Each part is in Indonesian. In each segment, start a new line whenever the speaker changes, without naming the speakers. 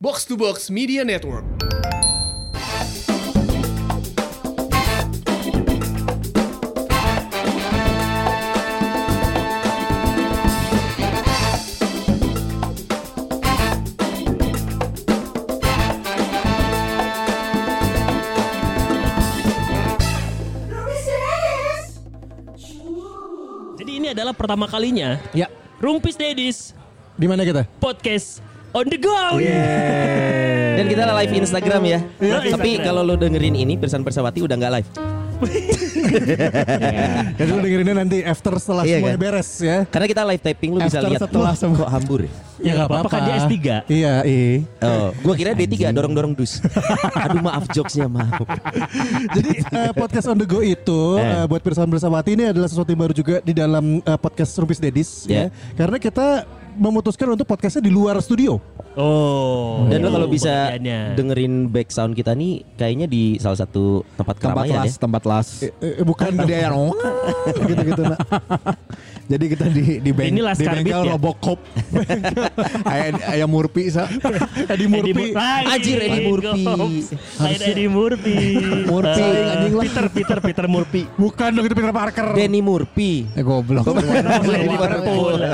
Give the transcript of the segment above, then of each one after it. Box to Box Media Network.
Jadi ini adalah pertama kalinya
Ya,
Rumpis Dedis
di mana kita?
podcast on the go.
Dan kita live Instagram ya.
Live
Tapi
Instagram.
kalau lu dengerin ini Pirsan Persawati udah nggak live.
Jadi lu dengerinnya nanti after setelah
Iya,
semuanya
kan?
beres ya.
Karena kita live typing lu bisa
After
lihat.
setelah
Wah,
semua.
kok hambur ya?
Ya nggak apa-apa kan dia S3.
Iya, iya.
Oh, gua kira D3 dorong-dorong dus. Aduh maaf jokesnya maaf.
Jadi eh, podcast on the go itu eh, buat Pirsawan Bersawati ini adalah sesuatu yang baru juga di dalam eh, podcast Rubis Dedis
Ya.
Iya.
ya. Karena kita memutuskan untuk podcastnya di luar studio.
Oh.
Dan lu kalau bisa
pengertiannya.
dengerin back sound kita nih kayaknya di salah satu tempat
tempat
keramaian ya.
las, tempat las.
Eh, eh, bukan
Tadi
dong.
yang gitu-gitu nak. Jadi kita di di, beng,
Ini Laskar
di bengkel
Beat ya?
Robocop. ayam, ayam murpi sa.
Edi Eh,
Eddie
Murphy.
Mur- Lain,
Anjir, Eddie Murphy.
Gops. Lain Eddie Murphy.
Murphy,
Eh,
anjing lah.
Peter Peter Peter Murphy.
Bukan dong itu Peter Parker.
Danny Murphy.
Eh goblok.
Dari Liverpool.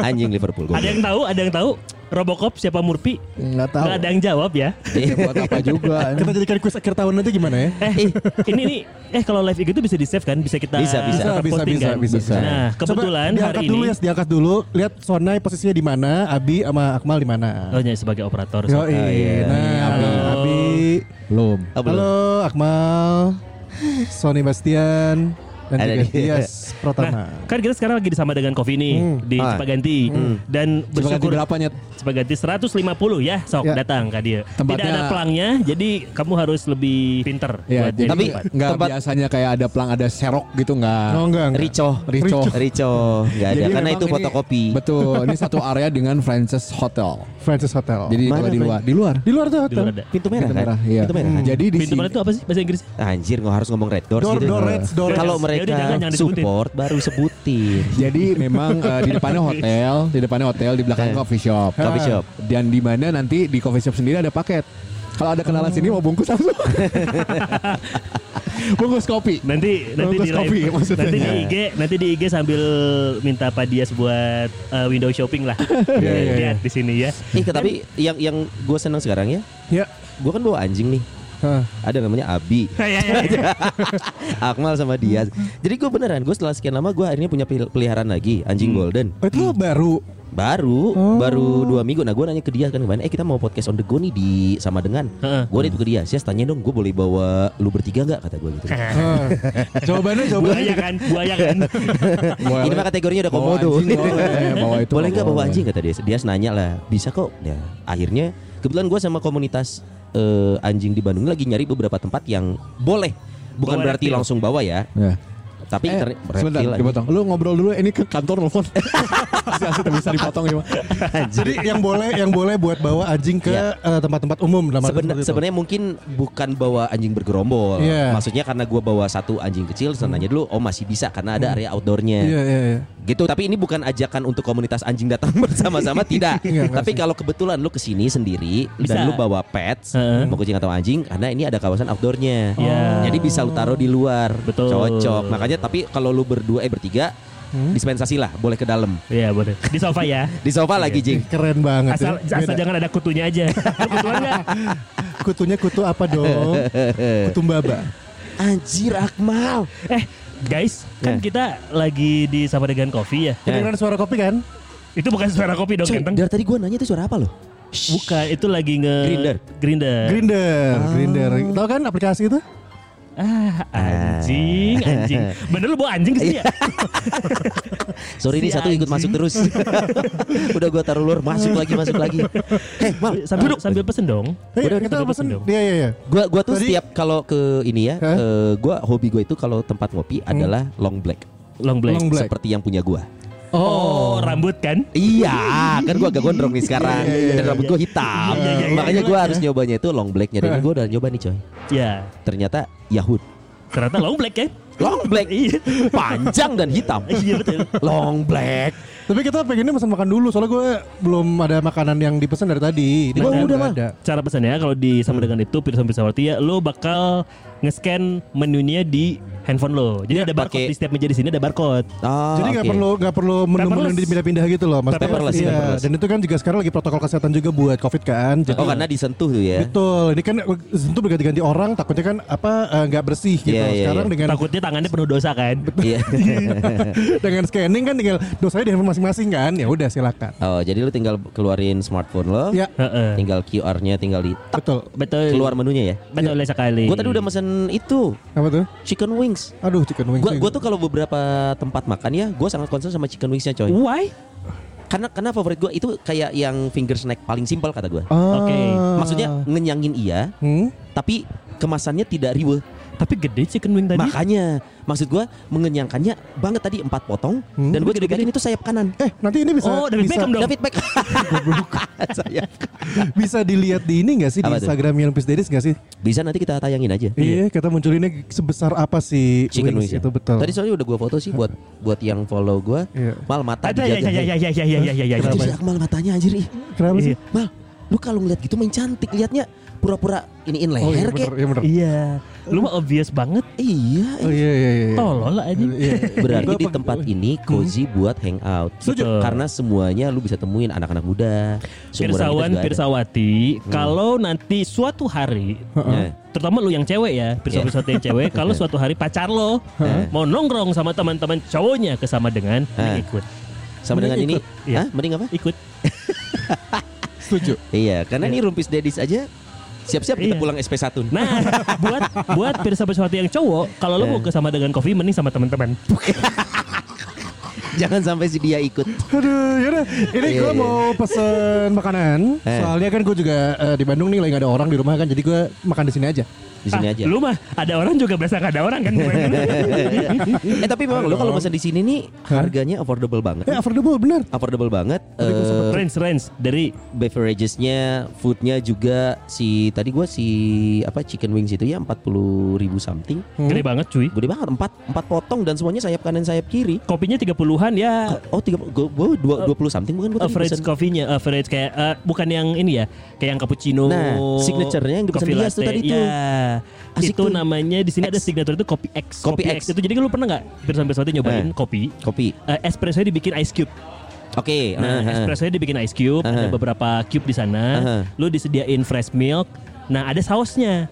Anjing Liverpool.
Ada yang tahu? Ada yang tahu? Robocop siapa Murphy?
Enggak tahu.
Nggak ada yang jawab ya.
Ya, Buat apa juga.
Kita jadikan kuis akhir tahun nanti gimana ya?
Eh, ini nih eh kalau live IG itu bisa di save kan? Bisa kita
Bisa, bisa.
kita posting kan? Nah, kebetulan
Coba
hari
diangkat dulu
ini
ya, diangkat dulu. Lihat Sonai posisinya di mana, Abi sama Akmal di mana.
Oh, ya, sebagai operator.
Yo, nah, Abi, Abi.
Belum.
Oh, belum.
Halo, Akmal, Sony Bastian, dan
Ada
juga
di-
Dias Pratama.
Nah, kan kita sekarang lagi disama dengan Covid nih
Hmm.
di
Ah.
Cipaganti dan
Coba ganti
bersyukur
Hmm. berapa nyet?
Cipaganti 150 ya sok
Ya.
datang Kak Dia. Tidak
Tempatnya-
ada pelangnya, jadi kamu harus lebih pinter buat
Ya, jadi
jadi
Tapi-
tempat.
enggak
tempat-
biasanya kayak ada pelang ada serok gitu enggak.
Oh, enggak, enggak.
Rico,
Ricoh.
Rico, nggak ada
Jadi
karena
memang
itu
ini-
fotokopi.
Betul, ini satu area dengan Frances Hotel.
Francis Hotel.
Jadi
Mana
kalau di luar, di luar.
di luar tuh
Di
hotel.
luar ada.
Pintu merah
Pintu
kan?
merah, iya.
Pintu merah kan?
Jadi di
Pintu
sini
merah itu apa sih bahasa Inggris?
Anjir nggak harus ngomong red doors
Door,
gitu.
door, red door.
Kalau
Yaudah,
mereka
jangan, jangan disebutin.
support baru sebutin.
Jadi memang eh, di depannya hotel, di depannya hotel, di belakang
Eh,
coffee shop.
coffee
Ah.
shop.
Dan di mana nanti di coffee shop sendiri ada paket. Kalau ada kenalan
Oh.
sini mau bungkus langsung. bungkus kopi.
Nanti nanti
Bungkus
di
kopi,
live,
Oh, maksudnya. Ya.
nanti di IG, nanti di IG sambil minta Pak Dias buat eh, window shopping lah.
iya,
Lihat di sini ya.
Ih, tapi yang yang gue senang sekarang ya,
Ya.
gue kan bawa anjing nih.
Hah.
Ada namanya Abi,
Ya, ya,
Iya.
ya.
Akmal sama Dias. Jadi gue beneran, gue setelah sekian lama gue akhirnya punya pel- peliharaan lagi, anjing golden.
Oh, itu baru.
Baru,
Oh.
baru dua minggu. Nah gue nanya ke dia kan kemarin, eh kita mau podcast on the go nih di sama dengan.
Heeh.
Gue itu ke dia, sih tanya dong, gue boleh bawa lu bertiga nggak kata gue gitu.
Hah. jawabannya jawabannya.
Buaya kan, buaya kan.
Boleh.
Ini mah kategorinya udah
Bawa
komodo.
anjing boleh, bawa itu
boleh nggak
nggak
bawa
boleh.
anjing kata dia? Dia nanya lah, bisa kok. Ya, akhirnya kebetulan gue sama komunitas eh, anjing di Bandung lagi nyari beberapa tempat yang boleh. Bukan
Bawa
berarti
reptil.
langsung bawa ya,
Ya.
tapi
Eh,
internet
sebentar,
reptil anjing.
dipotong. Lu ngobrol dulu ini ke kantor telepon. Masih asli bisa dipotong ya. Bang.
Jadi yang boleh yang boleh buat bawa anjing ke
Ya.
eh, tempat-tempat umum dalam arti
Sebena-
seperti itu.
sebenarnya mungkin bukan bawa anjing bergerombol.
Iya.
Maksudnya karena gua bawa satu anjing kecil, terus nanya dulu, oh masih bisa karena
Hmm.
ada area outdoornya.
Iya, iya, iya.
gitu tapi ini bukan ajakan untuk komunitas anjing datang bersama-sama tidak
Iya, nggak
tapi kalau kebetulan lu kesini sendiri
Bisa.
dan lu bawa pets
Heeh.
mau kucing atau anjing karena ini ada kawasan outdoornya
Iya.
jadi bisa lu taruh di luar
Betul.
cocok makanya tapi kalau lu berdua eh bertiga
Hmm?
dispensasi lah boleh ke dalam
Iya, boleh. Di sofa ya.
di sofa lagi jing
Keren banget.
Asal,
ya. Beda.
asal jangan ada kutunya aja. Ada Kutuan nggak?
Kutunya kutu apa dong? kutu mbaba.
anjir Akmal
Eh, guys, kan
Ya.
kita lagi di sama dengan kopi ya.
Kedengeran suara kopi kan?
Itu bukan suara kopi dong,
Cuy,
ganteng.
dari tadi gua nanya itu suara apa lo
Bukan, itu lagi nge
Grinder.
Grinder.
Grinder, Grinder. Tahu kan aplikasi itu?
Ah, anjing, anjing. Bener lu bawa anjing ke sini ya?
sorry ini
Si
satu ikut masuk
anjing.
terus udah gua taruh luar masuk lagi masuk lagi heh mal
sambil,
duduk
sambil pesen dong.
Eh,
Udah, udah,
kita
sambil
pesen.
dong.
Iya, iya, iya.
Gua gua tuh
Tadi-
setiap kalau ke ini ya,
Hah?
eh, gua hobi gue itu kalau tempat ngopi adalah long black.
Long black.
Long black.
Seperti yang punya gua.
Oh, rambut kan?
Iya, kan gua agak gondrong nih sekarang. Dan rambut gua hitam.
Iya, iya, iya.
Makanya gua harus nyobanya itu long blacknya. Dan gua udah nyoba nih coy.
Ya,
Ternyata Yahud.
ternyata long black ya.
Long black.
Iya.
Panjang dan hitam.
Iya betul.
Long black.
Tapi kita pengennya pesan makan dulu soalnya gue belum ada makanan yang dipesan dari tadi. Ini
Bang,
nggak
udah,
ada.
Cara pesannya kalau di sama dengan itu Pearson Pirsawati ya lo bakal nge-scan menunya di handphone lo. Jadi ada barcode
pakai-
di setiap meja di sini ada barcode.
Ah,
Jadi nggak
oke.
perlu nggak perlu menu-menu
Paperless.
dipindah-pindah gitu loh, maksudnya.
Paperless,
iya.
paperless.
Dan itu kan juga sekarang lagi protokol kesehatan juga buat covid kan. Jadi
Oh karena disentuh tuh ya.
betul. Ini kan tentu berganti-ganti orang, takutnya kan apa eh, nggak bersih gitu.
Iya, iya,
sekarang
iya.
dengan
Takutnya tangannya penuh dosa kan.
Iya.
dengan scanning kan tinggal dosanya di handphone masing-masing kan. Ya udah silakan.
oh jadi lu tinggal keluarin smartphone lo.
Ya.
Heeh.
Tinggal QR-nya tinggal di
Betul.
Betul. Iya.
keluar menunya ya.
Betul sekali.
Gue tadi udah mesen itu
Apa tuh?
chicken wings.
Aduh chicken wings.
Gua, gua tuh kalau beberapa tempat makan ya, gua sangat concern sama chicken wingsnya coy.
Why?
Karena karena favorit gua itu kayak yang finger snack paling simpel kata gua.
Ah.
Oke.
Maksudnya ngenyangin iya,
Hmm?
tapi kemasannya tidak riweh.
Tapi gede chicken wing tadi.
Makanya maksud gua mengenyangkannya banget tadi empat potong
Hmm.
dan gua
Gede-gede.
gede-gedein itu sayap kanan.
Eh nanti ini bisa
Oh,
bisa,
David Beckham dong.
David Beckham. sayap.
bisa dilihat di ini nggak sih di
Apa tuh?
Instagram yang Peace Daddies nggak sih?
Bisa nanti kita tayangin aja.
Iya, kita munculinnya sebesar apa sih
Chicken wings, ya.
itu betul.
Tadi soalnya udah gua foto sih buat buat yang follow gua.
Iya.
Mal mata
Ada ya ya ya ya ya ya ya ya ya.
Anjir,
ya.
si Akmal matanya anjir ih.
Kenapa sih?
Iya.
Mal, lu kalau ngeliat gitu main cantik liatnya pura-pura iniin leher
Oh iya
Eh, kek.
bener, iya bener.
Iya. Lu mah obvious banget.
Iya.
Oh iya iya iya. iya.
Tolol lah anjing.
Iya.
Berarti
Gua Hmm.
di
apa-
tempat ini cozy buat hangout. Gitu.
Setuju.
Karena semuanya lu bisa temuin anak-anak muda. seumuran kita
Pirsawan,
juga ada. Hmm.
Pirsawati, kalau nanti suatu hari,
Heeh.
terutama lu yang cewek ya, Pirsawan,
Iya.
Pirsawati yang cewek, kalau suatu hari pacar lo
Heeh.
mau nongkrong sama teman-teman cowoknya kesama dengan
Heeh.
ikut,
Sama dengan ini.
Iya.
Hah? Mending apa?
ikut.
Setuju.
Iya, karena ini rumpis dedis aja. Siap-siap
Iya.
kita pulang SP1.
Nah, buat buat Pirsawan, Pirsawati yang cowok, kalau lo mau kesama dengan kopi, mending sama teman-teman.
Jangan sampai si dia ikut.
Aduh, yaudah. Ini
Iya,
gue
iya.
mau pesen makanan.
Eh.
Soalnya kan gue juga eh, di Bandung nih lagi gak ada orang di rumah kan, jadi gue makan di sini aja.
Di sini
Ah,
aja.
Lu mah ada orang juga berasa gak ada orang kan?
eh tapi memang lu kalau pesan di sini nih harganya affordable banget.
Eh, affordable bener.
Affordable banget. Eh,
range range dari
beveragesnya, foodnya juga si tadi gua si apa chicken wings itu ya 40.000 ribu something.
gede banget cuy.
Gede banget empat empat potong dan semuanya sayap kanan sayap kiri.
Kopinya 30-an ya
Oh tiga gua, gua dua dua puluh something bukan gua
Oh.
tadi
average
pesen.
coffee-nya average kayak eh, bukan yang ini ya kayak yang cappuccino
Nah, signature-nya yang dipesan
coffee
Dias tuh
latte.
tadi tuh.
Iya.
Asik
itu
tuh.
namanya di sini ada
X.
signature itu kopi X
Kopi X.
itu jadi lu pernah nggak Pirsan Pirsawati nyobain
Eh.
kopi
kopi.
Eh, espressonya dibikin ice cube.
Oke. eh,
Nah,
heeh, heeh.
espressonya dibikin ice cube, ada
Aha.
beberapa cube di sana.
Aha.
Lu disediain fresh milk. Nah, ada sausnya.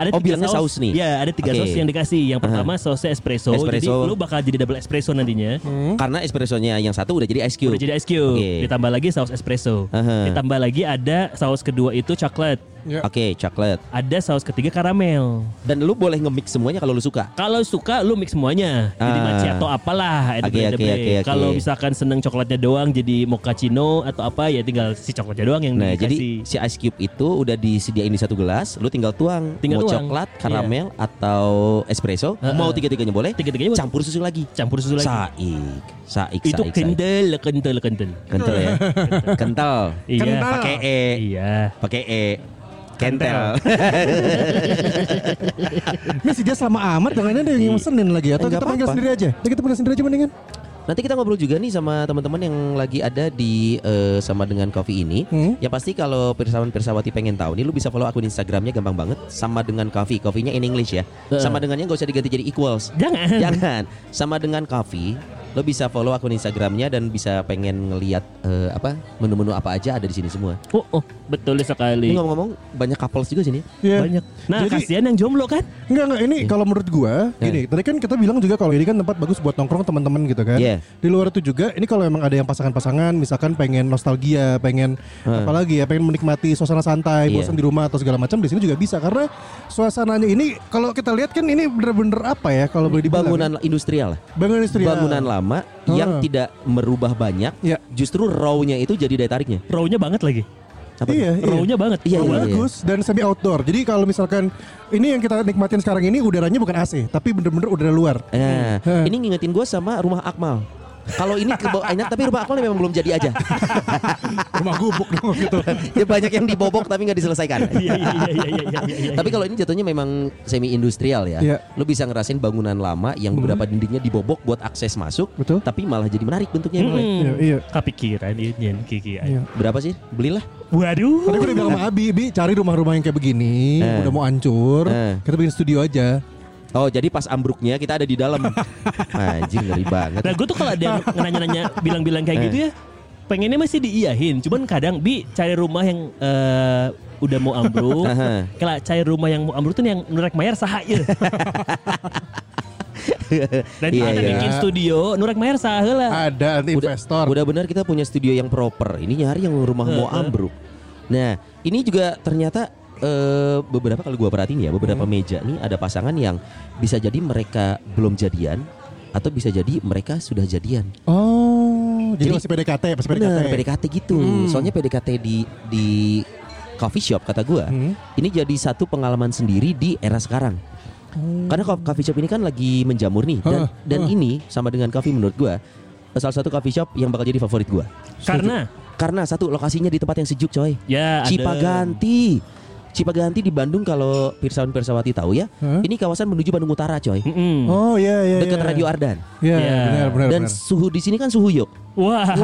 Ada
Oh,
tiga
bilangnya saus nih?
Iya, ada tiga
Oke.
saus yang dikasih. Yang
Aha.
pertama sausnya espresso. Jadi
Espresso.
lu bakal jadi double espresso nantinya.
Karena espressonya yang satu udah jadi ice cube.
Hmm. Udah jadi ice cube.
Oke. Eh.
Ditambah lagi saus espresso.
Aha.
Ditambah lagi ada saus kedua itu coklat.
Ya.
Oke, coklat.
Ada saus ketiga karamel.
Dan lu boleh nge-mix semuanya kalau lu suka.
Kalau suka lu mix semuanya. Jadi
Ah.
macchiato apalah. ada
Oke,
brand-brand.
oke, oke, oke.
Kalau misalkan seneng coklatnya doang jadi mochaccino atau apa ya tinggal si coklatnya doang yang
Nah, jadi
dikasih.
si ice cube itu udah disediain di satu gelas, lu tinggal tuang.
Tinggal
mau
tuang. Iya.
coklat, karamel atau espresso,
Heeh.
mau tiga-tiganya boleh.
Tiga-tiganya boleh.
campur susu lagi.
campur susu lagi.
Saik,
itu
saik, saik, saik.
kental, kental, kental.
Kental ya. Kental.
Iya.
Kental.
Pakai e,
Iya.
pakai e. Kentel.
Ini si dia sama amat, jangan ada yang mesenin lagi. Atau
Eh, nggak
kita panggil
apa-apa.
sendiri aja. Udah kita panggil sendiri aja mendingan.
Nanti kita ngobrol juga nih sama teman-teman yang lagi ada di eh, sama dengan Coffee ini.
Hmm.
Ya pasti kalau pirsawan pirsawati pengen tahu nih lu bisa follow akun Instagramnya gampang banget sama dengan Coffee. Coffee-nya in English ya. Sama dengannya gak usah diganti jadi equals.
Jangan.
Jangan. Sama dengan Coffee, lo bisa follow akun Instagramnya dan bisa pengen ngelihat eh, apa menu-menu apa aja ada di sini semua.
Oh, oh, betul sekali.
Ini ngomong-ngomong banyak couples juga sini.
Iya.
Banyak. Nah,
Jadi-
kasihan yang jomblo kan?
Enggak enggak
Iya.
ini kalau menurut gua gini, tadi kan kita bilang juga kalau ini kan tempat bagus buat nongkrong teman-teman gitu kan.
Iya.
Di luar itu juga ini kalau memang ada yang pasangan-pasangan misalkan pengen nostalgia, pengen apalagi ya pengen menikmati suasana santai,
Iya.
bosan di rumah atau segala macam di sini juga bisa karena suasananya ini kalau kita lihat kan ini bener-bener apa ya kalau boleh
Di
dibilang
bangunan industrial lah.
bangunan ya. industrial.
Bangunan lama yang tidak merubah banyak,
Iya.
justru raw-nya itu jadi daya tariknya.
Raw-nya banget lagi.
Apa tuh?
Iya, iya.
Raw-nya banget.
Iya,
Iya,
iya, iya.
bagus dan semi outdoor. Jadi kalau misalkan ini yang kita nikmatin sekarang ini udaranya bukan AC, tapi bener-bener udara luar.
Nah,
Hmm.
ini ngingetin gue sama rumah Akmal. Kalau ini ke bawah enak tapi rumah aku memang belum jadi aja.
rumah gubuk dong gitu.
ya banyak yang dibobok tapi nggak diselesaikan.
Iya iya iya iya iya, iya. iya.
Tapi kalau ini jatuhnya memang semi industrial ya.
Iya.
Lo bisa ngerasain bangunan lama yang
Hmm.
beberapa dindingnya dibobok buat akses masuk,
Betul.
tapi malah jadi menarik bentuknya. yang lain.
Hmm.
Iya, iya.
Kepikiran iya, iya, Kiki.
Iya.
Berapa sih? Belilah.
Waduh.
Tadi gue udah bilang sama Abi, Bi cari rumah-rumah yang kayak begini,
Eh.
udah mau hancur,
Eh.
kita bikin studio aja.
Oh, jadi pas ambruknya kita ada di dalam. Anjing ngeri banget.
Nah gue tuh kalau ada yang nanya-nanya bilang-bilang
Eh.
kayak gitu ya pengennya masih diiyahin cuman kadang bi cari rumah yang eh, udah mau ambruk
Aha.
kalau cari rumah yang mau ambruk tuh yang nurek mayar sahaya iya. dan
Iya,
ada
iya. Ah,
bikin studio nurek mayar sahaya lah
Ada nanti
Udah-
investor.
Udah benar kita punya studio yang proper. Ini nyari yang rumah mau ambruk. Nah, ini juga ternyata eh, beberapa kali gua perhatiin ya, beberapa
Hmm.
meja nih ada pasangan yang bisa jadi mereka belum jadian atau bisa jadi mereka sudah jadian.
Oh, jadi,
Jadi-
masih PDKT ya, masih PDKT.
Bener, PDKT gitu.
Hmm.
Soalnya PDKT di di coffee shop kata gua,
Hmm.
ini jadi satu pengalaman sendiri di era sekarang.
Oh.
Karena co- coffee shop ini kan lagi menjamur nih dan
Hah,
dan
hah.
ini sama dengan coffee menurut gua salah satu coffee shop yang bakal jadi favorit gua.
karena
Karena satu lokasinya di tempat yang sejuk coy.
ya ada-
Cipaganti. Cipaganti di Bandung kalau Pirsawan Pirsawati tahu ya.
Hah?
Ini kawasan menuju Bandung Utara coy.
Mm-mm.
Oh iya iya.
Dekat
iya.
Radio Ardan.
Iya,
Iya.
benar benar.
Dan
benar.
suhu di sini kan suhu yuk.
wah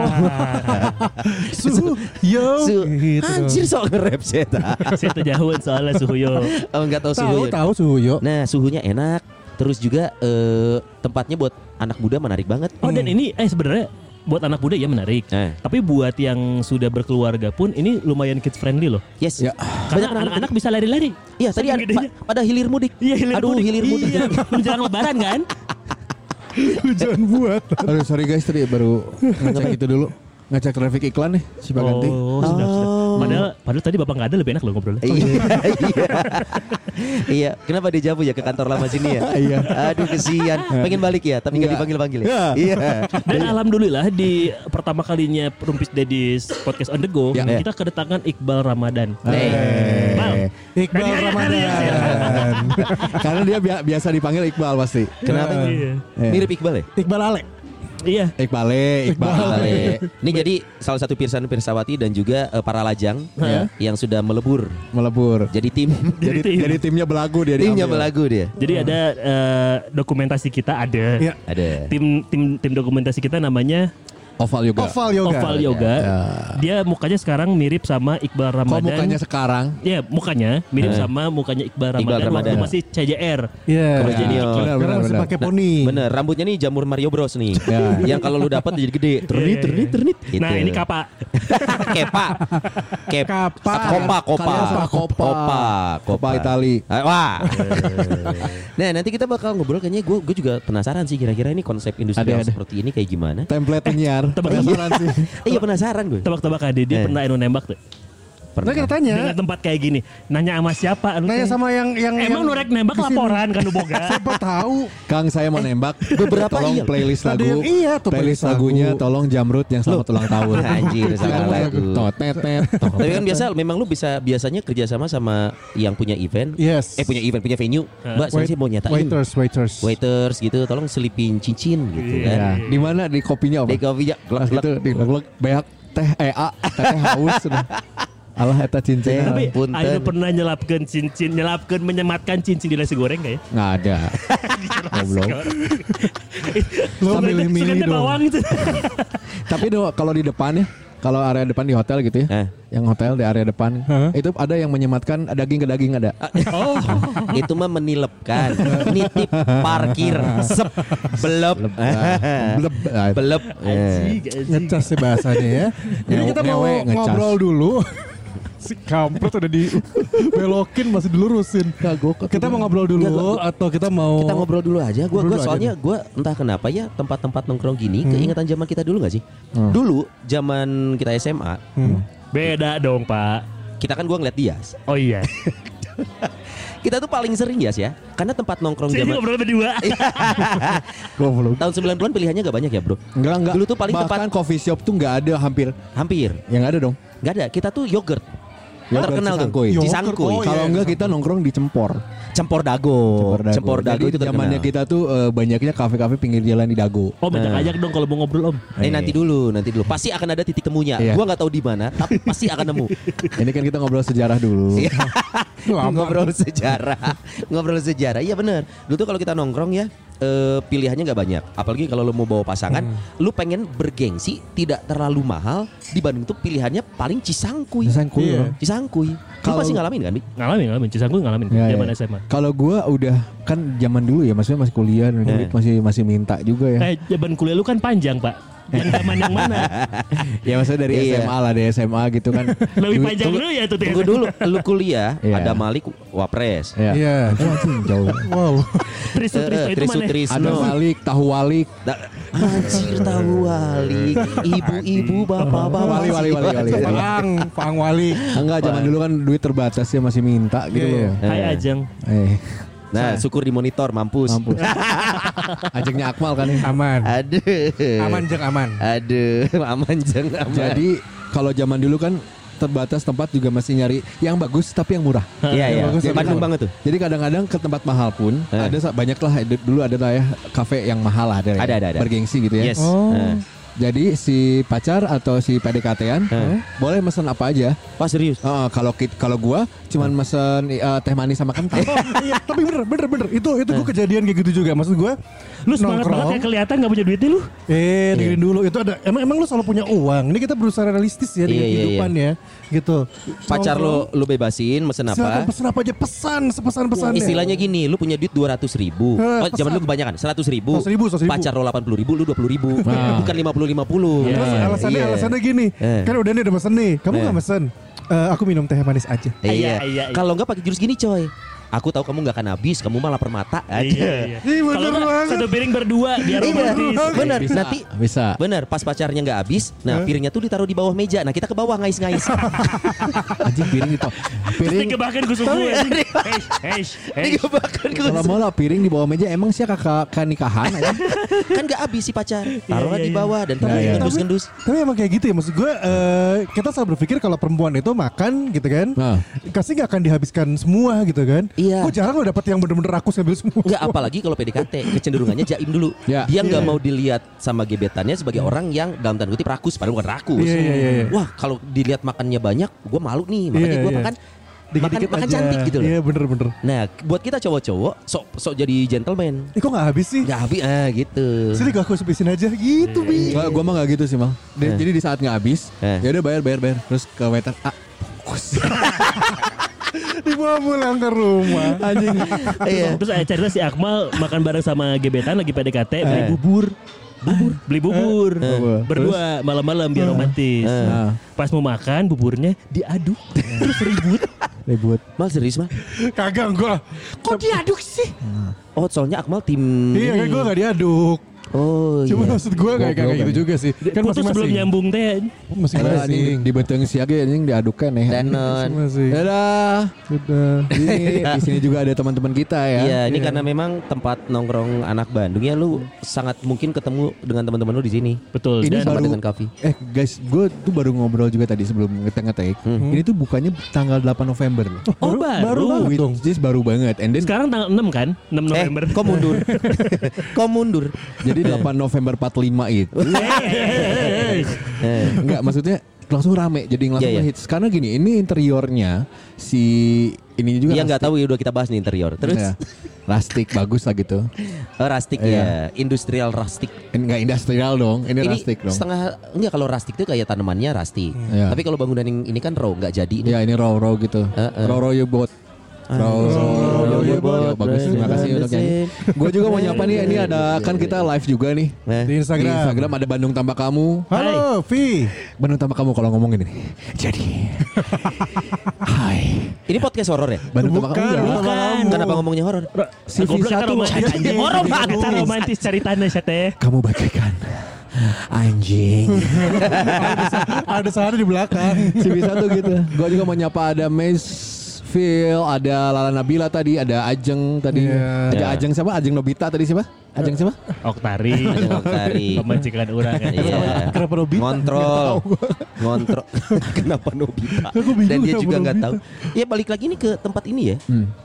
Su- yo,
Su-
gitu dong.
Anjir sok nge-rap Zeta.
saya terjauhan soalnya suhuyo
Oh, enggak tahu suhu.
Tahu
yuk.
tahu Suyo.
Nah, suhunya enak. Terus juga eh, tempatnya buat anak muda menarik banget.
oh dan ini eh sebenarnya buat anak muda ya menarik
Hmm. Eh,
tapi buat yang sudah berkeluarga pun ini lumayan kids friendly loh
yes.
Ya.
karena anak-anak bisa lari-lari
Iya, tadi ada,
Saking gedenya.
pa- pada hilir mudik.
Iya hilir
Aduh,
mudik.
hilir mudik.
Iya, menjelang lebaran kan?
Hujan buat.
Aduh sorry guys tadi baru ngecek itu dulu ngecek traffic iklan nih si Baganti.
Oh, sudah, sudah.
Oh.
Padahal, padahal tadi bapak nggak ada lebih enak loh ngobrolnya.
Iya, iya. Iya, kenapa dia jauh ya ke kantor lama sini ya?
Iya.
Aduh kesian. Pengen balik ya, tapi nggak dipanggil-panggil. ya? Iya.
Dan alhamdulillah di pertama kalinya Rumpis Dedis Podcast on the Go
Ya.
kita kedatangan Iqbal Ramadan.
Eh.
Nih.
Iqbal.
Iqbal
Ready,
Ramadan.
ready,
Karena dia bia- biasa dipanggil Iqbal pasti.
Kenapa?
Iya.
Iya.
Mirip Iqbal ya?
Iqbal Alek.
Iya.
Iqbale, Iqbal.
Iqbal, ya. Ini jadi salah satu pirsan pirsawati dan juga eh, para lajang
Iya.
yang sudah melebur.
Melebur.
Jadi tim
Jadi,
tim.
jadi timnya belagu dia.
timnya
diambil.
belagu dia.
Jadi ada eh, dokumentasi kita ada.
Iya.
Ada.
Tim tim tim dokumentasi kita namanya
Oval juga.
Oval Yoga.
Oval Yoga. Dia mukanya sekarang mirip sama Iqbal
Kok
Ramadan.
mukanya sekarang?
Ya mukanya mirip
Eh.
sama mukanya Iqbal Ramadan,
Iqbal
waktu
Ramadan.
masih CJR.
Iya.
Kalau jadi
Ya,
Iqbal.
benar,
Karena
benar,
masih
benar.
pakai poni.
Nah, Bener, rambutnya nih jamur Mario Bros nih.
Ya.
Yang kalau lu dapat jadi gede. Ternit,
Iya, iya,
ternit,
iya.
ternit.
Nah
Gitu.
ini kapa
Kepa. Kep.
Kapa.
Kopa, kopa.
Kalian sama kopa.
Kopa,
Kopa Itali.
Ah, Wah. nah, nanti kita bakal ngobrol kayaknya gue gue juga penasaran sih kira-kira ini konsep industrial
Ada, ada.
seperti ini kayak gimana.
Template penyiar.
tebak-
Penasaran sih.
Eh, iya penasaran gue.
tebak-tebakan dia, dia
Eh.
pernah anu nembak tuh.
Nah, kita tanya.
Dengan tempat kayak gini. Nanya sama siapa? anu
Nanya
teh?
sama yang yang yang
Emang lu rek nembak
di sini.
laporan kan lu boga.
Siapa tahu?
Kang saya mau nembak.
beberapa
tolong
iya.
playlist
Ada
lagu.
yang- iya tuh, playlist
playlist
lagu.
lagunya tolong Jamrut yang selamat ulang tahun.
Anjir, salah lagu.
Totet.
Tapi kan biasa memang lu bisa biasanya kerjasama sama yang punya event.
Yes.
Eh punya event, punya venue.
Eh,
Mbak, saya
Wait-
sih mau nyatain.
Waiters, waiters.
Waiters gitu, tolong selipin cincin gitu kan.
Ya. Di mana di kopinya
Di
apa?
kopinya.
Lah
glek-glek.
gitu di glek beak teh ea teteh haus sudah. Allah eta cincin.
Teh.
Tapi
Punten.
Ayo pernah nyelapkan cincin, nyelapkan menyematkan cincin di nasi goreng gak ya?
Nggak ada. Goblok.
Lo
Sukanya-
milih-milih
sukanya
dong.
bawang itu.
Tapi do, kalau di depan ya, kalau area depan di hotel gitu ya,
Eh.
yang hotel di area depan
Hah?
itu ada yang menyematkan daging ke daging ada.
Ah,
Oh,
itu mah menilepkan nitip parkir sep belep
Bleb. Ah,
belep
anjing,
Eh.
anjing.
Ngecas sih bahasanya ya. Jadi
Ngewe-
kita mau
ngewe, ngecas.
ngobrol dulu. si kampret udah dibelokin masih dilurusin.
Kagok.
Kita mau ngobrol dulu
Nggak,
atau kita mau
kita ngobrol dulu aja gue
Ngobrol
gua
dulu aja
soalnya gue entah kenapa ya tempat-tempat nongkrong gini keingetan zaman kita dulu gak sih dulu zaman kita SMA
Hmm.
Beda dong pak.
kita kan gue ngeliat Dias
Oh iya.
kita tuh paling sering Dias ya karena tempat nongkrong
Saya ini
zaman Eh.
ngobrol berdua.
Goblok.
tahun 90-an pilihannya gak banyak ya bro
Enggak enggak.
Dulu tuh paling
bahkan coffee shop tuh enggak ada hampir.
hampir
Yang ada dong.
gak ada kita tuh yogurt
Yogurt
terkenal tuh
Cisangkuy.
Cisangkuy.
Oh, iya,
Kalau enggak kita nongkrong di Cempor.
Cempor Dago. Oh, Cempor Dago itu
Jadi zamannya
terkenal. Oh.
kita tuh eh, banyaknya kafe-kafe pinggir jalan di Dago.
Om ajak Oh, ajak dong kalau mau ngobrol om.
Eh nanti dulu, nanti dulu. Pasti akan ada titik temunya.
Iya.
Gua nggak tahu di mana, tapi pasti akan nemu.
Ini kan kita ngobrol sejarah dulu.
Iya.
Lama.
ngobrol sejarah, ngobrol sejarah. Iya benar. Dulu tuh kalau kita nongkrong ya, eh, pilihannya nggak banyak. Apalagi kalau lo mau bawa pasangan,
Hmm.
lu pengen bergengsi, tidak terlalu mahal. Di Bandung tuh pilihannya paling Cisangkuy.
Cisangkuy,
Iya.
Bang.
Cisangkuy. Lu
Kalau- Iya.
pasti ngalamin kan? Bi?
Ngalamin ngalamin. Cisangkuy ngalamin.
Iya,
Ya,
Zaman
ya.
SMA.
Kalau gua udah kan zaman dulu ya, maksudnya masih kuliah dan
Eh.
masih masih minta juga ya.
Eh zaman kuliah lu kan panjang pak.
Eh.
Yang zaman yang mana?
Ya maksudnya dari
Iya.
SMA lah, dari SMA gitu kan.
Lebih
Duit
panjang
tuh-
dulu ya tuh.
Tunggu dulu, lu kuliah,
Iya.
ada Malik Wapres.
Iya.
Iya.
Itu anjing, jauh.
Wow.
Trisu Trisu
Eh,
itu
Trisut
mana?
Ada
Trisno.
Malik, tahu Walik.
Da- Anjir tahu wali, ibu-ibu, bapak-bapak.
Wali, wali, wali, wali.
Pang, Pang Wali.
Enggak, zaman dulu kan duit terbatas ya masih minta gitu
Iya,
loh.
Hai
Eh.
Ajeng.
Eh,
Nah, syukur di monitor, mampus.
mampus. Ajaknya Akmal kan ya.
Aman.
Aduh. Eh.
Aman jeng aman.
Aduh, aman jeng aman.
Jadi kalau zaman dulu kan terbatas tempat juga masih nyari yang bagus tapi yang murah.
iya iya.
bagus,
Di
bagus.
Bandung banget tuh.
Jadi kadang-kadang ke tempat mahal pun
Eh.
ada sa- banyak lah d- dulu ada lah ya kafe yang mahal lah ya,
Ada, ada, ada.
bergengsi gitu ya.
Yes.
Oh.
Nah.
Jadi si pacar atau si PDKT-an
Eh.
boleh mesen apa aja.
Wah serius.
Heeh, kalau kit- kalau gua cuman mesen eh, teh manis sama kentang.
iya, tapi bener, bener, bener. Itu itu gue kejadian kayak gitu juga. Maksud gue,
Lu semangat banget kayak kelihatan gak punya duitnya lu.
ya. Eh, dengerin dulu. Itu ada emang emang lu selalu punya uang. Ini kita berusaha realistis ya dengan
Iya, iya,
kehidupan ya. Gitu.
Pacar
Nongkrong,
lo lu bebasin mesen
Silakan
apa?
pesan apa aja pesan sepesan-pesannya.
Istilahnya gini, lu punya duit 200 ribu
Eh,
oh, Zaman
pesan.
lu kebanyakan, 100 ribu
100.000, 100.000.
Pacar lu 80 ribu, lu 20 ribu
Nah.
Bukan 50-50
Terus alasannya
Iya.
alasannya gini.
Eh.
Kan udah nih udah mesen nih. Kamu
Eh.
nggak mesen? Eh, aku minum teh manis aja.
Iya,
Iya, iya, iya.
Kalau enggak pakai jurus gini coy Aku tahu kamu nggak akan habis, kamu malah permata aja.
Iya.
Ih, bener
Kalau nggak,
banget.
satu piring berdua biar
Iya,
romantis.
benar.
Bisa,
Nanti
Ah, bisa.
Ah.
benar pas pacarnya nggak habis, nah piringnya tuh ditaruh di bawah meja. Nah kita ke bawah ngais-ngais.
Anjing piring itu.
Ini
Piring
kebakan kusuk
Iya.
gue. Hei, hei, hei.
Digebakan ke
kalau mau lah piring di bawah meja emang sih kakak ya? kakak nikahan aja.
kan nggak habis si pacar taruhlah
iya,
di
iya.
bawah dan
Iya,
terus
iya.
ngendus ngendus
Tapi emang kayak gitu ya maksud gue eh, kita selalu berpikir kalau perempuan itu makan gitu kan.
Nah.
Kasih nggak akan dihabiskan semua gitu kan.
Iya.
Gue jarang lo dapet yang bener-bener aku sambil semua.
nggak apalagi kalau PDKT kecenderungannya jaim dulu
Iya.
Ya.
dia nggak mau dilihat sama gebetannya sebagai orang yang dalam tanda kutip rakus padahal bukan rakus
Iya, iya, iya, iya.
wah kalau dilihat makannya banyak gue malu nih makanya
Iya,
gue
iya.
makan makan
Dikit-dikit
makan
aja.
cantik gitu loh
Iya bener-bener.
nah buat kita cowok-cowok sok sok jadi gentleman
Eh kok nggak habis sih?
nggak Iya. habis ah gitu
Sini gak aku sepisin aja gitu bi.
Gua, gua mah gak gitu sih mal.
Eh.
Di- Jadi di saat nggak habis,
Eh.
ya udah bayar bayar bayar. Terus ke waiter, ah, fokus.
Dibawa pulang ke rumah.
Anjing.
iya
Terus ada cerita si Akmal makan bareng sama gebetan lagi PDKT beli
Eh.
bubur. Bubur, beli bubur.
Bubur.
Berdua malam-malam biar romantis. Nah,
Eh.
Pas mau makan buburnya diaduk
Eh.
terus ribut.
Kan
Ribut.
Mal serius mal
Kagak gua.
Kok diaduk sih?
Oh soalnya Akmal tim
Iya kan gue
ini.
gak diaduk.
Oh
Cuma
iya
maksud gue kayak kayak
Goblok
gitu
kan.
juga sih. Kan
Putus
masing-masing.
sebelum nyambung teh.
Iya
Karena
Masing-masing.
anjing dibeteng siaga anjing diadukan ya.
Danon
Masing-masing.
Dadah.
Dadah.
Ini di sini juga ada teman-teman kita ya.
Iya, ini karena memang tempat nongkrong anak Bandung ya lu sangat mungkin ketemu dengan teman-teman lu di sini.
Betul.
Ini
Sama
baru-
dengan Kavi.
Eh guys, gue tuh baru ngobrol juga tadi sebelum ngetek-ngetek.
Hmm.
Ini tuh bukannya tanggal 8 November loh.
Oh, baru.
Which is baru banget. And then
Sekarang tanggal 6 kan? 6
Eh,
November.
kok mundur? kok mundur?
jadi 8 November 45 itu.
Eh,
Enggak, maksudnya langsung rame jadi langsung
Iya, iya.
hits. Karena gini, ini interiornya si ini juga
dia nggak
rustic.
tahu ya udah kita bahas nih interior. Terus
Iya. rustic bagus lah gitu.
oh, rustic ya, industrial rustic.
Enggak industrial dong, ini,
Ini
rustic dong.
setengah enggak kalau rustic itu kayak tanamannya rustic.
Iya.
Tapi kalau bangunan yang ini kan raw nggak jadi nih.
Ya ini raw raw gitu.
Heeh.
Raw raw yobot. Raw
Raw
raw
you both.
yobot. Bagus terima kasih untuk yang ini. Gue juga mau nyapa nih ini ada kan kita live juga nih.
Eh,
Di
Di
Instagram.
Instagram ada Bandung tanpa kamu.
Halo Vi.
Bandung tanpa kamu kalau ngomongin ini. Jadi Hai.
Ini podcast horor ya?
Bandung tanpa kamu.
Bukan. Ah, kan
enggak?
Bukan.
Kenapa ngomongnya horor?
Si
Goblok
Visa
kita
tuh
romantis
masih-
anjing. Orang
Iya.
banget Kita romantis cari tanah ya. sih teh.
Kamu bagaikan anjing.
Ada sehari di belakang.
Si Visa tuh gitu. Gue juga mau nyapa ada Mace Phil, ada Lala Nabila tadi, ada Ajeng tadi.
Iya.
Ada
Iya.
Ajeng siapa? Ajeng Nobita tadi siapa? Ajeng siapa?
Oktari,
Ajeng Oktari.
pemajikan orang kan.
Iya.
Kenapa Nobita?
Ngontrol. Ngontrol. Kenapa Nobita?
Aku bingung
Dan dia
kenapa
juga nggak
Nobita. Hmm.
tahu. Ya balik lagi nih ke tempat ini ya.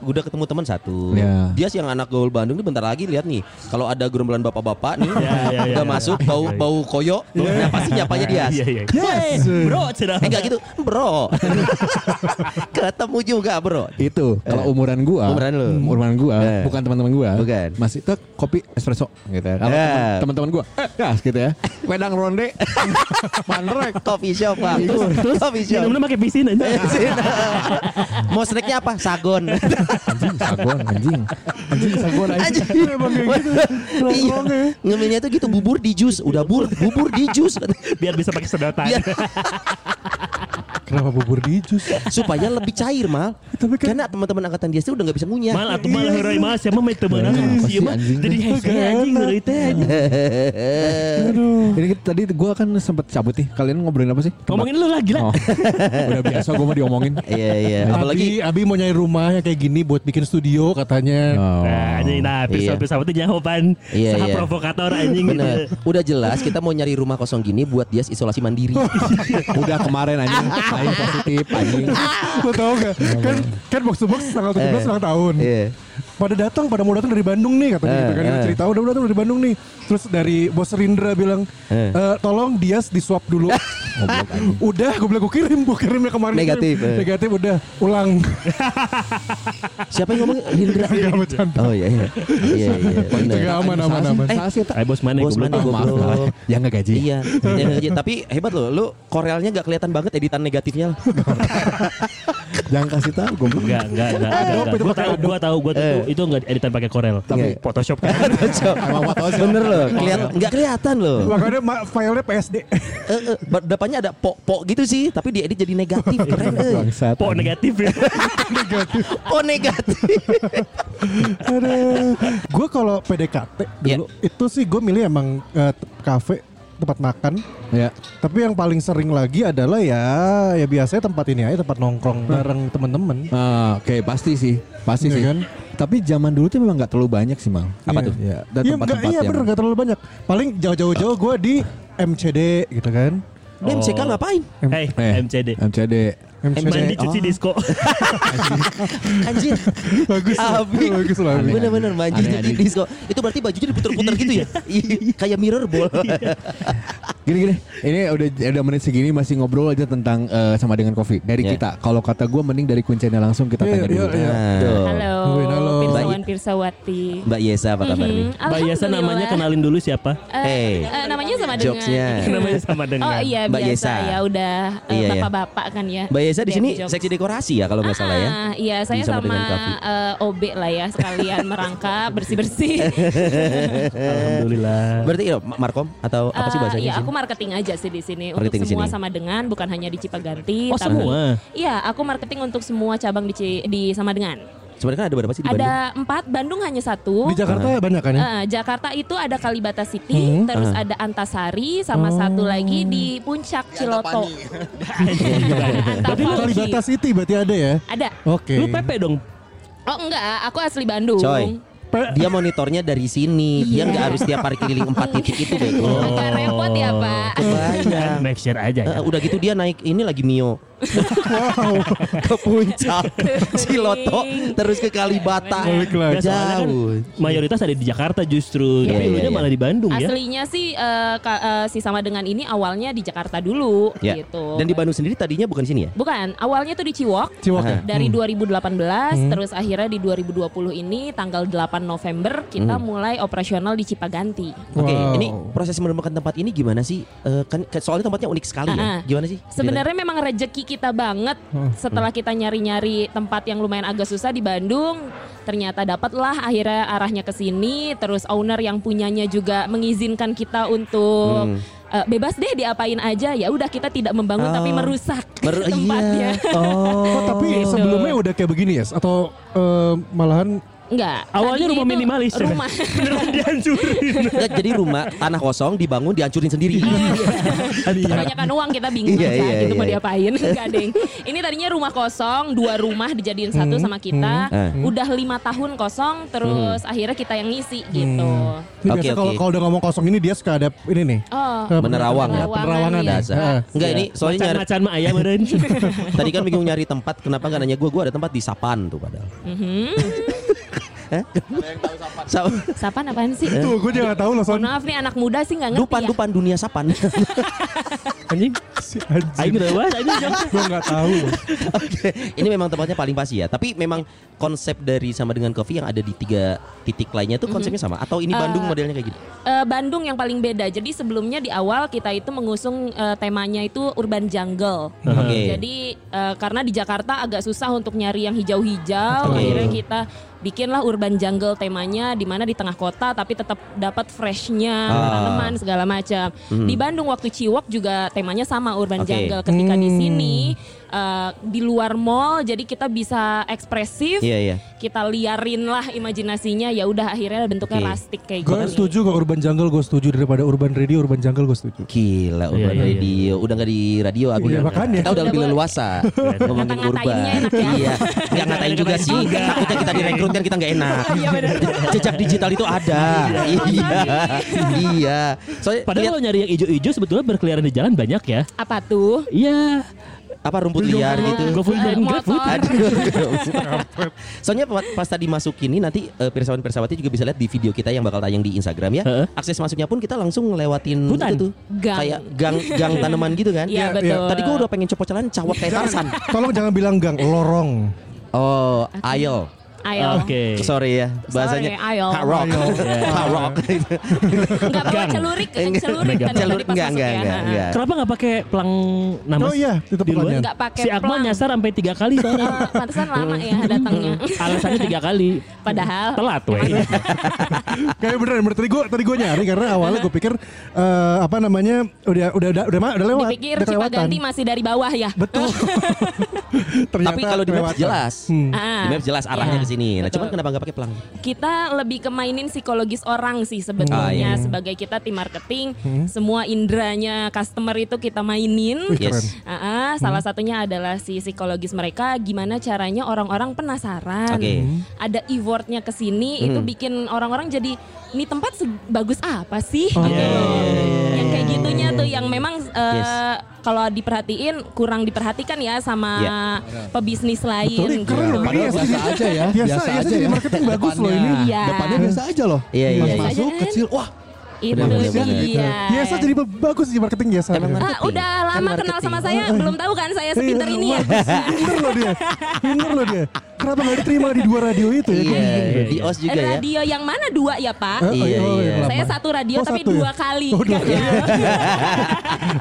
Udah ketemu teman satu.
Iya.
Ya.
Dia sih yang anak gaul Bandung nih bentar lagi lihat nih. Kalau ada gerombolan bapak-bapak
Iya,
nih
Ya, ya, ya,
udah
ya.
masuk bau
Ya, ya.
bau koyo. Nah, pasti nyapanya dia.
Iya, iya.
Yes.
Weh, Bro, cerah.
Eh enggak gitu, bro. Ketemu juga, bro.
Itu kalau umuran gua,
Eh. Umuran lu.
umuran gua,
Eh.
bukan teman-teman gua,
Bukan.
masih itu kopi espresso gitu. ya. Kalau
Ya.
teman- teman-teman gua, eh, gas gitu ya. Wedang ronde, manrek.
Coffee shop, Pak.
Iya.
Terus
Coffee shop.
minumnya pakai pisin aja.
Iya. Mau snacknya apa? Sagon.
Anjing, sagon, anjing, anjing sagon aja.
Anjing. Iya. Ngemilnya tuh gitu bubur di jus, udah bur, bubur di jus
Biar bisa pakai sedotan.
Biar-
Kenapa bubur di jus?
Eh. supaya lebih cair mal.
Tapi kan-
Karena teman-teman angkatan dia tuh udah nggak bisa ngunyah.
Mal atuh mal heurai mas, siapa mah temenan
Kenapa
Iya
sih,
mah
anjing?
jadi hese anjing heurai teh
Iya.
anjing.
Ini kita- tadi gua kan sempet cabut nih. Kalian ngobrolin apa sih?
Ngomongin lu lah gila.
Oh. Udah biasa gua mau diomongin.
Iya iya. Apalagi
Apalagi Abi, Abi mau nyari rumah yang kayak gini buat bikin studio katanya.
Oh.
Nah, anjing nah
Iya.
pisau-pisau itu jawaban
Iya,
saha
iya.
provokator anjing gitu.
bener. Udah jelas kita mau nyari rumah kosong gini buat dia isolasi mandiri.
iya. Udah kemarin anjing, lain positif anjing.
Ya.
Lo tau gak? Kan kan box to box tanggal 17 ulang tahun.
Eh. Iya.
Pada datang, pada mau datang dari Bandung nih katanya gitu kan. Dia
eh.
cerita udah udah datang dari Bandung nih. Terus dari bos Rindra bilang, "Eh, tolong Dias di swap dulu. udah, gue bilang gue kirim, gue kirimnya kemarin. kirim.
Negatif, eh.
negatif udah ulang.
Siapa yang ngomong Hindra?
Gak bercanda.
Oh iya iya. Iya iya. bener.
Cegah aman aman aman.
Eh,
Salah sih, tak.
Ay bos mana
Bos
goblok.
mana
Ah, maaf,
goblok.
maaf. Yang nggak gaji.
Iya, yang gaji. Tapi hebat loh, lu korealnya nggak kelihatan banget editan negatifnya. lah.
Jangan kasih tahu goblok.
Enggak, enggak, enggak,
Eh,
enggak.
Adobe
enggak.
itu
Gua
pakai
tahu, gua tahu, gua tahu itu enggak editan pakai Corel. Tapi Photoshop kan.
Cocok. Bener loh, kelihatan nggak kelihatan loh.
Makanya ma- filenya PSD.
Eh, eh, ber- depannya ada pok-pok gitu sih, tapi diedit jadi negatif. Keren. eh.
Bangsat.
Po negatif ya.
Po negatif.
Aduh. Gue kalau PDKT
Iya.
dulu itu sih gue milih emang eh, te- kafe tempat makan.
Ya.
Tapi yang paling sering lagi adalah ya ya biasanya tempat ini aja tempat
Hmm.
nongkrong bareng temen-temen.
Ah, Oke pasti sih, pasti
Iya
sih.
kan?
Tapi zaman dulu tuh memang nggak terlalu banyak sih mal.
Apa tuh?
Ya, ada
Iya
tempat-tempat
enggak iya
yang-
bener nggak terlalu banyak. Paling jauh-jauh jauh gue di MCD gitu kan.
Dem, CK ngapain?
Hey,
Eh,
MCD.
MCD.
Mandi cuci
Oh.
Ah.
disco.
Anjir.
bagus.
Abi.
Bagus lah. Abi.
Bener-bener mandi
Aneh,
jadi
aneh.
disco. Itu berarti bajunya diputer-puter gitu ya? Iya, Kayak mirror ball.
Gini gini, ini udah udah menit segini masih ngobrol aja tentang eh, sama dengan kopi dari
Iya.
kita. Kalau kata gue mending dari kuncinya langsung kita
Iya,
tanya dulu.
iya, iya.
Tuh.
Halo,
Win, halo.
Pirsawan Pirsawati. Hmm,
Mbak Yesa apa kabar
Mm-hmm.
nih?
Mbak Yesa namanya kenalin dulu siapa?
Hey.
Eh, namanya sama dengan.
Jokesnya.
Namanya sama dengan.
Oh iya
Mbak
biasa
Yesa.
ya udah eh,
Iya, iya.
bapak-bapak kan ya.
Mbak Yesa di
Daddy
sini
jokes.
seksi dekorasi ya kalau nggak salah ya.
Ah, Iya, saya
Sama
sama,
dengan Kavi.
eh, OB lah ya sekalian merangkap
Eh,
bersih-bersih.
Alhamdulillah.
Berarti ya, Ma- Markom atau apa sih
Eh,
bahasanya?
ya
sih?
aku marketing aja sih di sini
Marketing di
untuk semua
sini.
sama dengan bukan hanya di Cipaganti
Oh, semua?
Iya, aku marketing untuk semua cabang di Ci- di sama dengan.
Sebenarnya kan ada berapa sih di Bandung?
Ada empat, Bandung hanya
Oh.
satu.
Di Jakarta banyak kan ya?
Eh, Jakarta itu ada Kalibata City,
Hmm.
terus
Ah.
ada Antasari, sama
Oh.
satu lagi di Puncak Ciloto.
Tapi lu
Antapani.
Kalibata City berarti ada ya?
Ada.
Oke.
Lu Pepe dong.
Oh enggak, aku asli Bandung.
Coy.
Pe-
Dia monitornya dari sini. Dia nggak harus tiap hari keliling empat titik itu bego.
Bukan repot ya Pak.
Oh.
Iya
Bayang.
Next year aja ya.
Eh, udah gitu dia naik ini lagi Mio. ke puncak, Ciloto, terus ke Kalibata.
Balik lagi.
Soalnya kan
Jauh.
mayoritas ada di Jakarta justru,
Iya,
tapi
iya,
dulunya
iya.
malah di Bandung ya.
Oh, iya?
Aslinya sih eh, ka- eh, si sama dengan ini awalnya di Jakarta dulu
Ya.
gitu.
Dan di Bandung sendiri tadinya bukan sini ya?
Bukan, awalnya tuh di Ciwok.
Ciwok ya? Hmm.
Dari 2018 terus akhirnya di 2020 ini tanggal 8 November kita
Hmm.
mulai operasional di Cipaganti.
Oke,
Wow.
ini proses menemukan tempat ini gimana sih? Eh, kan ke- soalnya tempatnya unik sekali
Ah, ah.
ya. Gimana sih?
Sebenarnya memang rejeki kita banget
Hmm.
setelah kita nyari-nyari tempat yang lumayan agak susah di Bandung, ternyata dapatlah akhirnya arahnya ke sini, terus owner yang punyanya juga mengizinkan kita untuk
Hmm.
eh, bebas deh diapain aja. Ya udah kita tidak membangun
Oh.
tapi
Ah.
merusak
Mer-
tempatnya.
Iya. Oh.
Oh, tapi sebelumnya udah kayak begini ya? Atau eh, malahan
Enggak.
Awalnya
Tadinya
rumah
itu
minimalis ya kan?
Rumah.
Beneran dihancurin.
Ya, jadi rumah tanah kosong dibangun dihancurin sendiri.
Kebanyakan uang kita bingung
Iya,
kan
iya,
gitu mau
iya.
diapain enggak deng. Ini tadinya rumah kosong, dua rumah dijadiin satu sama kita.
Eh.
Udah lima tahun kosong terus
Hmm.
akhirnya kita yang ngisi gitu.
Ini
Oke,
biasa kalau
oke.
kalau udah ngomong kosong ini dia suka ada ini nih.
Hmm.
Oh.
eh,
Menerawang
pener-
ya.
penerawangan ya.
Dasar.
Heeh.
Enggak ini soalnya nyari-
Macan-macan mah ayam meren.
tadi kan bingung nyari tempat. Kenapa nggak nanya gue? Gue ada tempat di Sapan tuh padahal.
Mhm.
Sa-
Sapan apaan sih?
Tuh gue juga gak tahu loh
Mohon
soalnya.
maaf nih anak muda sih nggak ngerti
Eh. dupan
ya.
dupan dunia Sapan.
Anjing.
Si
Aing
anjing.
udah was, anjing jok.
Gue gak tahu.
Oke, ini memang tempatnya paling pas ya. Tapi memang konsep dari sama dengan Coffee yang ada di tiga titik lainnya tuh konsepnya sama. Atau ini Bandung modelnya kayak gitu? gini?
Eh, Bandung yang paling beda. Jadi sebelumnya di awal kita itu mengusung eh, temanya itu urban jungle.
Oke.
Jadi eh, karena di Jakarta agak susah untuk nyari yang hijau-hijau,
Betul.
akhirnya kita bikinlah urban jungle temanya di mana di tengah kota tapi tetap dapat
Ah.
freshnya
Hmm.
tanaman segala macam. Di Bandung waktu Ciwok juga temanya sama
Oke.
urban jungle. Ketika di sini eh, di luar mall jadi kita bisa ekspresif.
Iya iya.
Kita liarin lah imajinasinya ya udah akhirnya bentuknya
Oke.
rustic kayak
Gue
gini.
setuju kok Urban Jungle gue setuju daripada Urban Radio Urban Jungle gue setuju.
Gila urban
Iya, iya, Iya. iya.
radio udah nggak di radio aku
Iya,
udah-
makanya.
kita udah
Udah
lebih
boleh.
leluasa ngomongin urban
Ngata-ngatainnya enak ya.
iya nggak ngatain juga sih
Ngatain juga.
takutnya kita direkrut kan kita nggak enak jejak digital itu ada iya iya soalnya
Padahal
lihat
kalau nyari yang ijo-ijo sebetulnya berkeliaran di jalan banyak ya.
Apa tuh?
Iya.
apa rumput liar gitu
GoFood
Eh,
dan GrabFood.
motor.
Soalnya pa- pas tadi masuk ini nanti eh, pirsawan-pirsawati juga bisa lihat di video kita yang bakal tayang di Instagram ya.
Heeh.
Akses masuknya pun kita langsung ngelewatin
Hutan.
itu tuh.
Gang.
Kayak gang gang tanaman gitu kan.
Iya,
Iya,
betul.
iya.
Tadi gua udah pengen copot jalan cawat kayak Tarzan.
Tolong jangan bilang gang lorong.
Oh, aisle. Ah,
Ayo.
Oke.
Sorry ya bahasanya.
Sorry, aisle.
Hard rock.
Iya.
Hard rock.
Enggak bawa
Gang.
celurik, celurik
Megang.
kan tadi
Jalur enggak
pas masuk
enggak
ya.
enggak enggak.
Kenapa nggak pakai pelang nama?
Oh iya, itu
di luar.
tempatnya.
Enggak pakai
Si Akmal
pelang.
nyasar sampai tiga kali soalnya. Hmm,
Eh, Pantesan lama ya
Hmm.
datangnya.
Alasannya tiga kali.
Padahal
Telat weh.
Kayak beneran, bener tadi gue tadi gue nyari karena awalnya gue pikir eh, apa namanya udah udah udah udah, udah lewat,
dipikir
udah kelewatan.
Cipaganti masih dari bawah ya.
Betul. Ternyata
Tapi kalau di maps
kelewatan.
jelas.
Ah,
Di maps jelas arahnya
Iya.
ke sini. Nah,
Betul.
cuman kenapa nggak pakai pelang?
kita lebih ke mainin psikologis orang
Ah,
sih
iya. Hmm.
sebetulnya sebagai kita tim marketing, semua indranya customer itu kita mainin.
Wih, keren.
Yes.
Ah, ah, salah
Hmm.
satunya adalah si psikologis mereka gimana caranya orang-orang penasaran.
Oke. Hmm.
Ada rewardnya ke sini itu bikin orang-orang jadi ini tempat se- bagus apa sih?
Oh,
Gitu.
iya,
Yang kayak gitunya tuh yang memang eh,
Yes.
kalau diperhatiin kurang diperhatikan ya sama
Ya.
pebisnis
Betul, ini
lain. Gitu.
keren loh ini
Eh, Padahal
ya.
biasa aja ya.
Biasa, biasa jadi
ya.
marketing bagus loh ini.
Depannya-
Iya.
Depannya biasa aja loh.
Iya, iya,
Pas
iya.
Masuk
Biasa aja kan?
kecil, wah
Itu
Benar, benar,
dia.
benar.
iya, Biasa Iya, jadi bagus sih marketing biasa.
Emang
Bener.
Ah, udah
Kan
lama kenal
marketing.
sama saya, belum tahu kan saya sepinter
Eh, Iya,
ini ya.
bagus. Pinter loh dia. Pinter loh dia. Kenapa gak diterima di dua radio itu ya?
Iya,
iya,
di
iya.
OS juga ya.
Radio yang mana dua ya Pak?
Eh,
Iya,
oh,
iya.
lama.
Saya satu radio
Oh,
tapi
satu ya?
dua kali.
Oh, dua kali.
Gagal.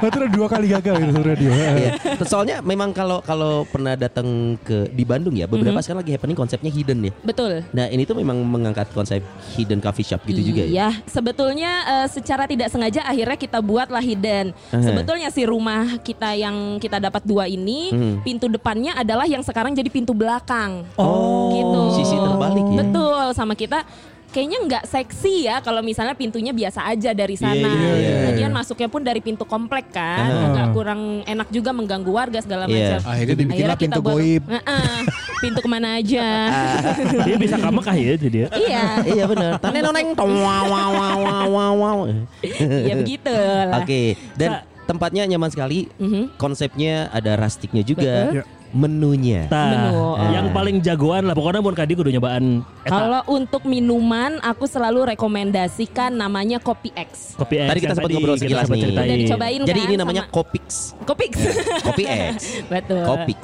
Itu udah dua kali gagal itu satu radio.
Iya. Terus Soalnya memang kalau kalau pernah datang ke di Bandung ya, beberapa
Mhm.
sekarang lagi happening konsepnya hidden ya.
Betul.
Nah, ini tuh memang mengangkat konsep hidden coffee shop gitu juga ya.
Iya, sebetulnya eh, secara tidak sengaja akhirnya kita buatlah hidden.
Aha.
Sebetulnya si rumah kita yang kita dapat dua ini,
Hmm.
pintu depannya adalah yang sekarang jadi pintu belakang.
Oh,
gitu.
sisi terbalik ya.
Betul, sama kita kayaknya nggak seksi ya kalau misalnya pintunya biasa aja dari sana.
iya, iya,
Lagian masuknya pun dari pintu komplek kan,
Aha.
agak kurang enak juga mengganggu warga segala
Iya.
macam.
Akhirnya dibikinlah
kita
pintu
buat-
goib.
Heeh, pintu kemana aja.
Dia bisa ke Mekah ya jadi dia.
iya,
iya benar. Tane noneng tong, wow wow wow wow wow, wow.
ya begitu lah.
Oke, dan tempatnya nyaman sekali.
Mhm.
Konsepnya ada rustiknya juga.
Betul.
Menunya.
Tah,
Menu.
Nah, yang paling jagoan lah pokoknya bukan kadi kudu nyobaan eh, eta
Kalau untuk minuman, aku selalu rekomendasikan namanya Kopi X.
kopi es
Tadi kita
yang
sempat ngobrol
kita
sekilas
sempat
nih.
ceritain.
Udah dicobain
Jadi
kan
ini namanya
sama-
Kopix.
Kopi X.
Kopi X.
Iya. betul.
Kopix.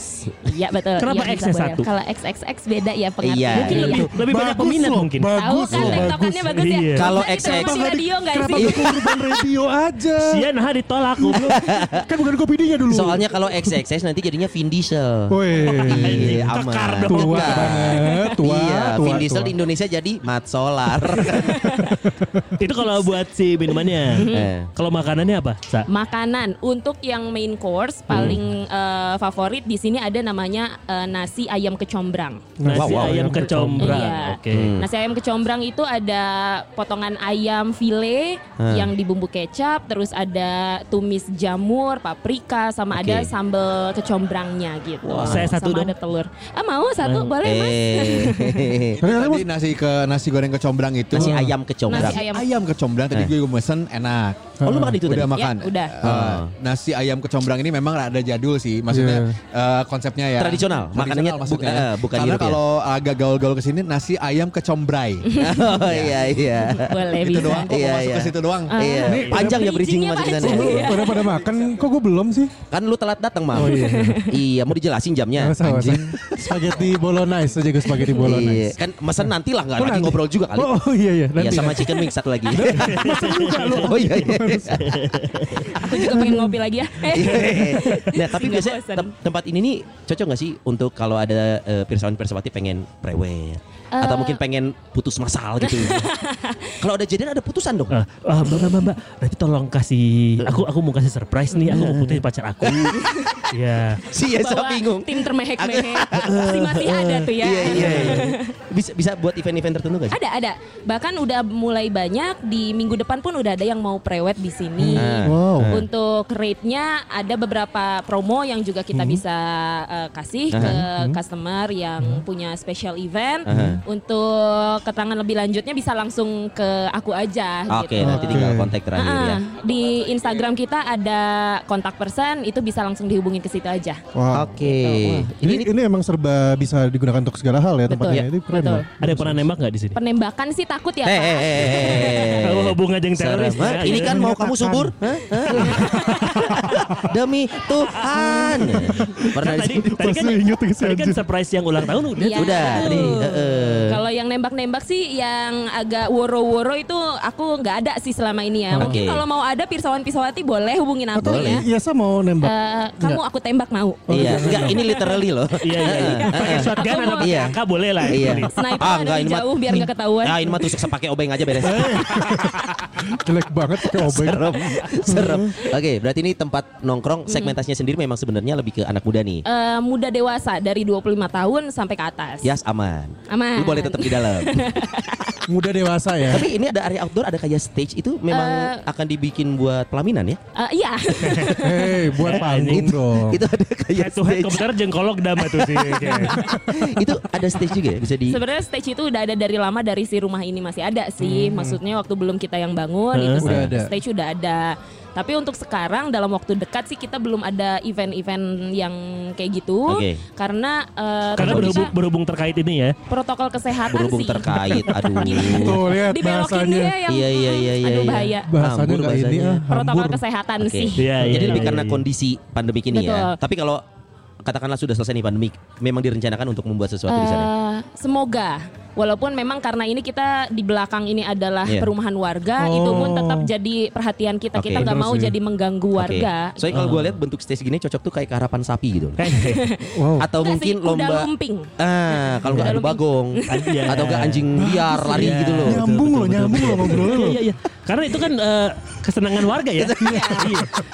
Iya betul.
Kenapa
Iya,
X-nya
bisa boleh.
satu?
Kalau XXX beda ya pengertian.
Iya,
Mungkin
Mungkin lebih, lebih banyak
Bagus
peminat
loh,
mungkin.
Tahu
Bagus
kan
loh.
tektokannya bagus ya.
Iya.
Kalau
Kita
XX.
di radio nggak
Kenapa
sih?
gak ke urban radio aja?
Sia nah ditolak goblok.
Kan bukan kopidinya dulu.
Soalnya kalau XXS nanti jadinya Vin Diesel. Diesel.
Woi.
Iya, aman.
Kekar dong.
Tua
Enggak.
banget, tua,
iya,
tua,
Vin Diesel
tua.
di Indonesia jadi Mat Solar.
Itu kalau buat si minumannya.
Eh,
kalau makanannya apa? Sa?
Makanan untuk yang main course paling
Hmm.
eh, favorit di sini ada namanya eh, nasi ayam kecombrang.
Nasi
Wow, wow.
ayam kecombrang.
Iya.
Oke.
Hmm.
Nasi ayam kecombrang itu ada potongan ayam file
Hmm.
yang dibumbu kecap, terus ada tumis jamur, paprika, sama
Oke.
ada sambal kecombrangnya gitu.
Wah.
Saya satu
sama
dong.
ada telur. Ah mau satu
Hmm.
Mau.
boleh mas?
eh.
Tadi nasi ke nasi goreng kecombrang itu.
Nasi ayam kecombrang.
Nasi ayam.
ayam kecombrang tadi
Eh.
gue mesen enak. Hmm.
Oh, lu makan itu
udah
tadi? Ah.
makan.
Ya, udah.
Eh, nasi ayam kecombrang ini memang rada jadul sih, maksudnya eh, konsepnya ya
Iya. Tradisional, makanannya bu-
maksudnya.
eh, bukan
Karena
European.
kalau agak gaul-gaul ke sini nasi ayam kecombrai.
Oh iya iya.
Boleh
itu
bisa. Ah.
doang kok
Iya,
mau masuk
iya.
ke situ doang.
Iya. Panjang ya bridgingnya
bridgingnya Iya.
masukinannya.
panjang.
Lu Udah pada makan, kok gue belum sih?
Kan lu telat datang, Mam.
Oh, iya.
Iya, mau dijelasin jamnya.
Masa
Anjing.
Spaghetti bolognese aja gue spaghetti
Iya,
bolognese.
kan mesen nanti lah nggak
Oh,
lagi
nanti.
ngobrol juga kali.
Oh, oh, iya iya
ya? Iya
nanti.
sama chicken wings satu lagi. Oh iya. iya.
Aku juga pengen ngopi lagi ya.
nah tapi
Nggak
biasanya
bosan.
tem- tempat ini nih cocok nggak sih untuk kalau ada eh, pirsawan-pirsawati pengen prewed atau mungkin pengen putus masal gitu. kalau ada jadian ada putusan dong.
Ah, ah, mbak, mbak, mbak, mbak, nanti tolong kasih aku aku mau kasih surprise nih, aku mau putusin pacar aku. Iya.
Si Yesa
Bawa
bingung.
Tim termehek-mehek. Masih masih ada tuh ya.
Iya iya. iya. Bisa bisa buat event-event tertentu nggak sih?
Ada ada. Bahkan udah mulai banyak di minggu depan pun udah ada yang mau prewed di
Hmm.
sini.
Nah.
Oh.
Wow.
Eh.
Untuk rate-nya ada beberapa promo yang juga kita
Hmm.
bisa eh, kasih ke customer yang punya special event.
Hmm. Aha.
Untuk keterangan lebih lanjutnya bisa langsung ke aku aja
Ah, Oke,
gitu.
nanti tinggal kontak terakhir
Ah,
ya.
Di Instagram kita ada kontak person, itu bisa langsung dihubungin ke situ aja.
Wah.
Oke.
Ini, ini, emang serba bisa digunakan untuk segala hal ya tempatnya.
Betul,
Ini keren
betul.
loh.
Ada yang pernah nembak nggak di sini?
Penembakan sih takut ya,
Eh, eh,
Pak.
eh, eh, eh, eh.
Oh, bunga jeng teroris
Serem,
ya,
eh. Ini
iya.
kan mau kamu subur? Hah? Hah? Demi Tuhan. Pernah
Tadi,
sih?
tadi kan,
Pasti inget ke si
tadi kan
anjing.
surprise yang ulang tahun udah.
Iya.
Udah, tadi, eh, eh.
Kalau yang nembak-nembak sih yang agak woro-woro itu aku nggak ada sih selama ini ya.
Oke.
Mungkin kalau mau ada pirsawan-pirsawati boleh hubungin aku
Atau
ya.
iya saya mau nembak.
Eh, kamu aku tembak mau.
Iya, enggak ini literally loh.
Iya, iya, iya. Pakai shotgun
Aku
atau
mau-
pakai
Iya.
AK boleh lah.
Iya.
Ini.
Sniper
Ah,
ada
enggak,
di
ini mah-
jauh biar nggak ketahuan.
Ah, ini mah tusuk sepakai obeng aja beres.
Jelek banget pakai obeng.
Serem, serem. Oke, berarti ini tempat nongkrong segmentasinya sendiri memang sebenarnya lebih ke anak muda nih.
Eh, muda dewasa dari 25 tahun sampai ke atas.
Yas aman. Ya.
Aman.
Lu boleh tetap di dalam.
Muda dewasa ya.
Tapi ini ada area outdoor, ada kayak stage itu memang akan dibikin buat pelaminan ya?
Eh, iya.
Hei, buat panggung
Itu,
dong.
itu ada kayak
Head to head
stage.
komputer jengkolok dama tuh sih.
itu ada stage juga ya bisa di
Sebenarnya stage itu udah ada dari lama dari si rumah ini masih ada sih.
Hmm.
Maksudnya waktu belum kita yang bangun
Eh,
Hmm.
itu
Udah
stage-
ada.
stage udah ada. Tapi untuk sekarang dalam waktu dekat sih kita belum ada event-event yang kayak gitu
Oke.
karena eh,
Karena
tentu
berhubung,
kita
berhubung terkait ini ya.
protokol kesehatan
berhubung
sih.
terkait aduh
Tuh lihat
Dibelokin
bahasanya.
dia yang
Iya, iya, iya, iya,
aduh
iya.
bahaya.
Bahasanya
Hambur
enggak ini
bahasanya.
ah.
Protokol
hambur.
kesehatan
Oke.
sih.
Iya, iya,
jadi lebih
iya,
karena
iya.
kondisi pandemi ini ya
Betul.
tapi kalau katakanlah sudah selesai nih pandemi memang direncanakan untuk membuat sesuatu di sana
Eh, semoga. Walaupun memang karena ini kita di belakang ini adalah
Iya.
perumahan warga, itu pun tetap jadi perhatian kita.
Oke.
Kita nggak
Bener
mau
sih.
jadi mengganggu
Oke.
warga.
soalnya
Oh.
kalau gue lihat bentuk stage gini cocok tuh kayak keharapan sapi gitu
Eh,
Wow.
oh.
atau
Nggak sih,
mungkin
kuda
lomba
lumping.
ah kalau nggak adu
Kuda lumping.
bagong
Iya.
atau nggak anjing liar lari
Iya.
gitu loh
Nyambung loh, nyambung loh ngobrolnya
Iya,
loh.
iya, iya. Karena itu kan eh, kesenangan warga ya. Iya.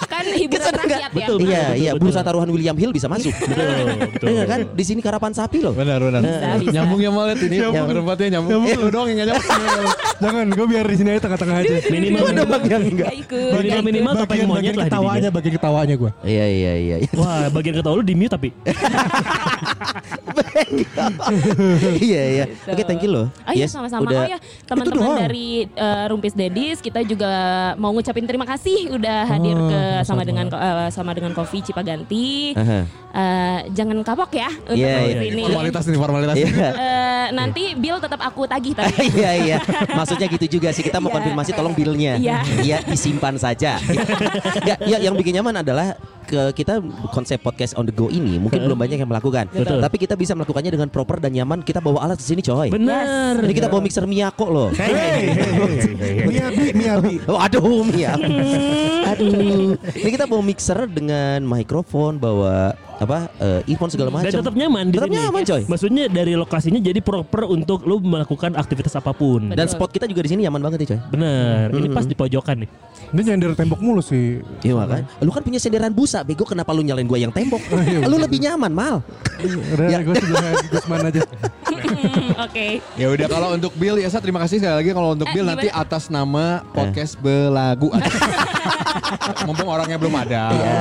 Kan hiburan
Kesana nggak?
rakyat ya.
Betul.
iya iya
betul.
bursa taruhan William Hill bisa masuk
Betul, betul.
Iya kan di sini keharapan sapi loh
Benar, benar.
Bisa, bisa.
Nyambung ya Malet ini. Nyambung tempatnya nyambung. Eh, lu doang yang nggak nyambung.
Jangan, gue biar di sini aja tengah-tengah aja.
Minimal
Ada bang yang enggak
Nggak ikut.
minimal
nggak ikut.
minimal topeng
Bagian,
monyet
bagian
lah
ketawanya,
dirinya.
bagian ketawanya gue.
iya iya iya
Wah, bagian ketawa lu di mute tapi.
Eh, iya iya oke thank you loh
Oh iya
Yes,
sama-sama.
udah
Oh ya teman-teman
doang.
dari eh, Rumpis Dedis kita juga mau ngucapin terima kasih
Oh,
udah hadir ke sama dengan eh, sama dengan Kopi Cipaganti.
Aha.
Eh, jangan kapok ya untuk
Iya,
ke
iya.
sini.
Formalitas nih, formalitas.
Iya.
Eh, nanti bill tetap aku tagih tapi.
Iya iya, maksudnya gitu juga sih kita mau
Iya.
konfirmasi tolong bilnya,
Iya.
Iya, disimpan saja. Nggak, ya yang bikin nyaman adalah ke kita konsep podcast on the go ini mungkin belum banyak yang melakukan,
Betul.
tapi kita bisa melakukannya dengan proper dan nyaman. Kita bawa alat ke sini coy.
Benar.
Ini kita bawa mixer Miyako loh.
Miabi, miabi.
Oh, aduh, Mia. aduh. Ini kita bawa mixer dengan mikrofon, bawa apa eh, earphone segala macam.
Dan tetap nyaman di
Tetap
sini.
nyaman, coy.
Maksudnya dari lokasinya jadi proper untuk lu melakukan aktivitas apapun.
Dan
Betul.
spot kita juga di sini nyaman banget ya coy.
Bener. Ini pas di pojokan nih.
Dia nyender tembok mulu sih.
Iya kan? Lu kan punya senderan busa, bego kenapa lu nyalain gua yang tembok?
Oh, iya,
lu lebih nyaman, Mal.
Udah,
Ya.
gue sebelumnya Gusman aja.
Hmm, Oke.
Ya udah kalau untuk Bill ya saya terima kasih sekali lagi kalau untuk
Eh,
Bill nanti
gimana?
atas nama
Eh.
podcast belagu. Mumpung orangnya belum ada.
Iya.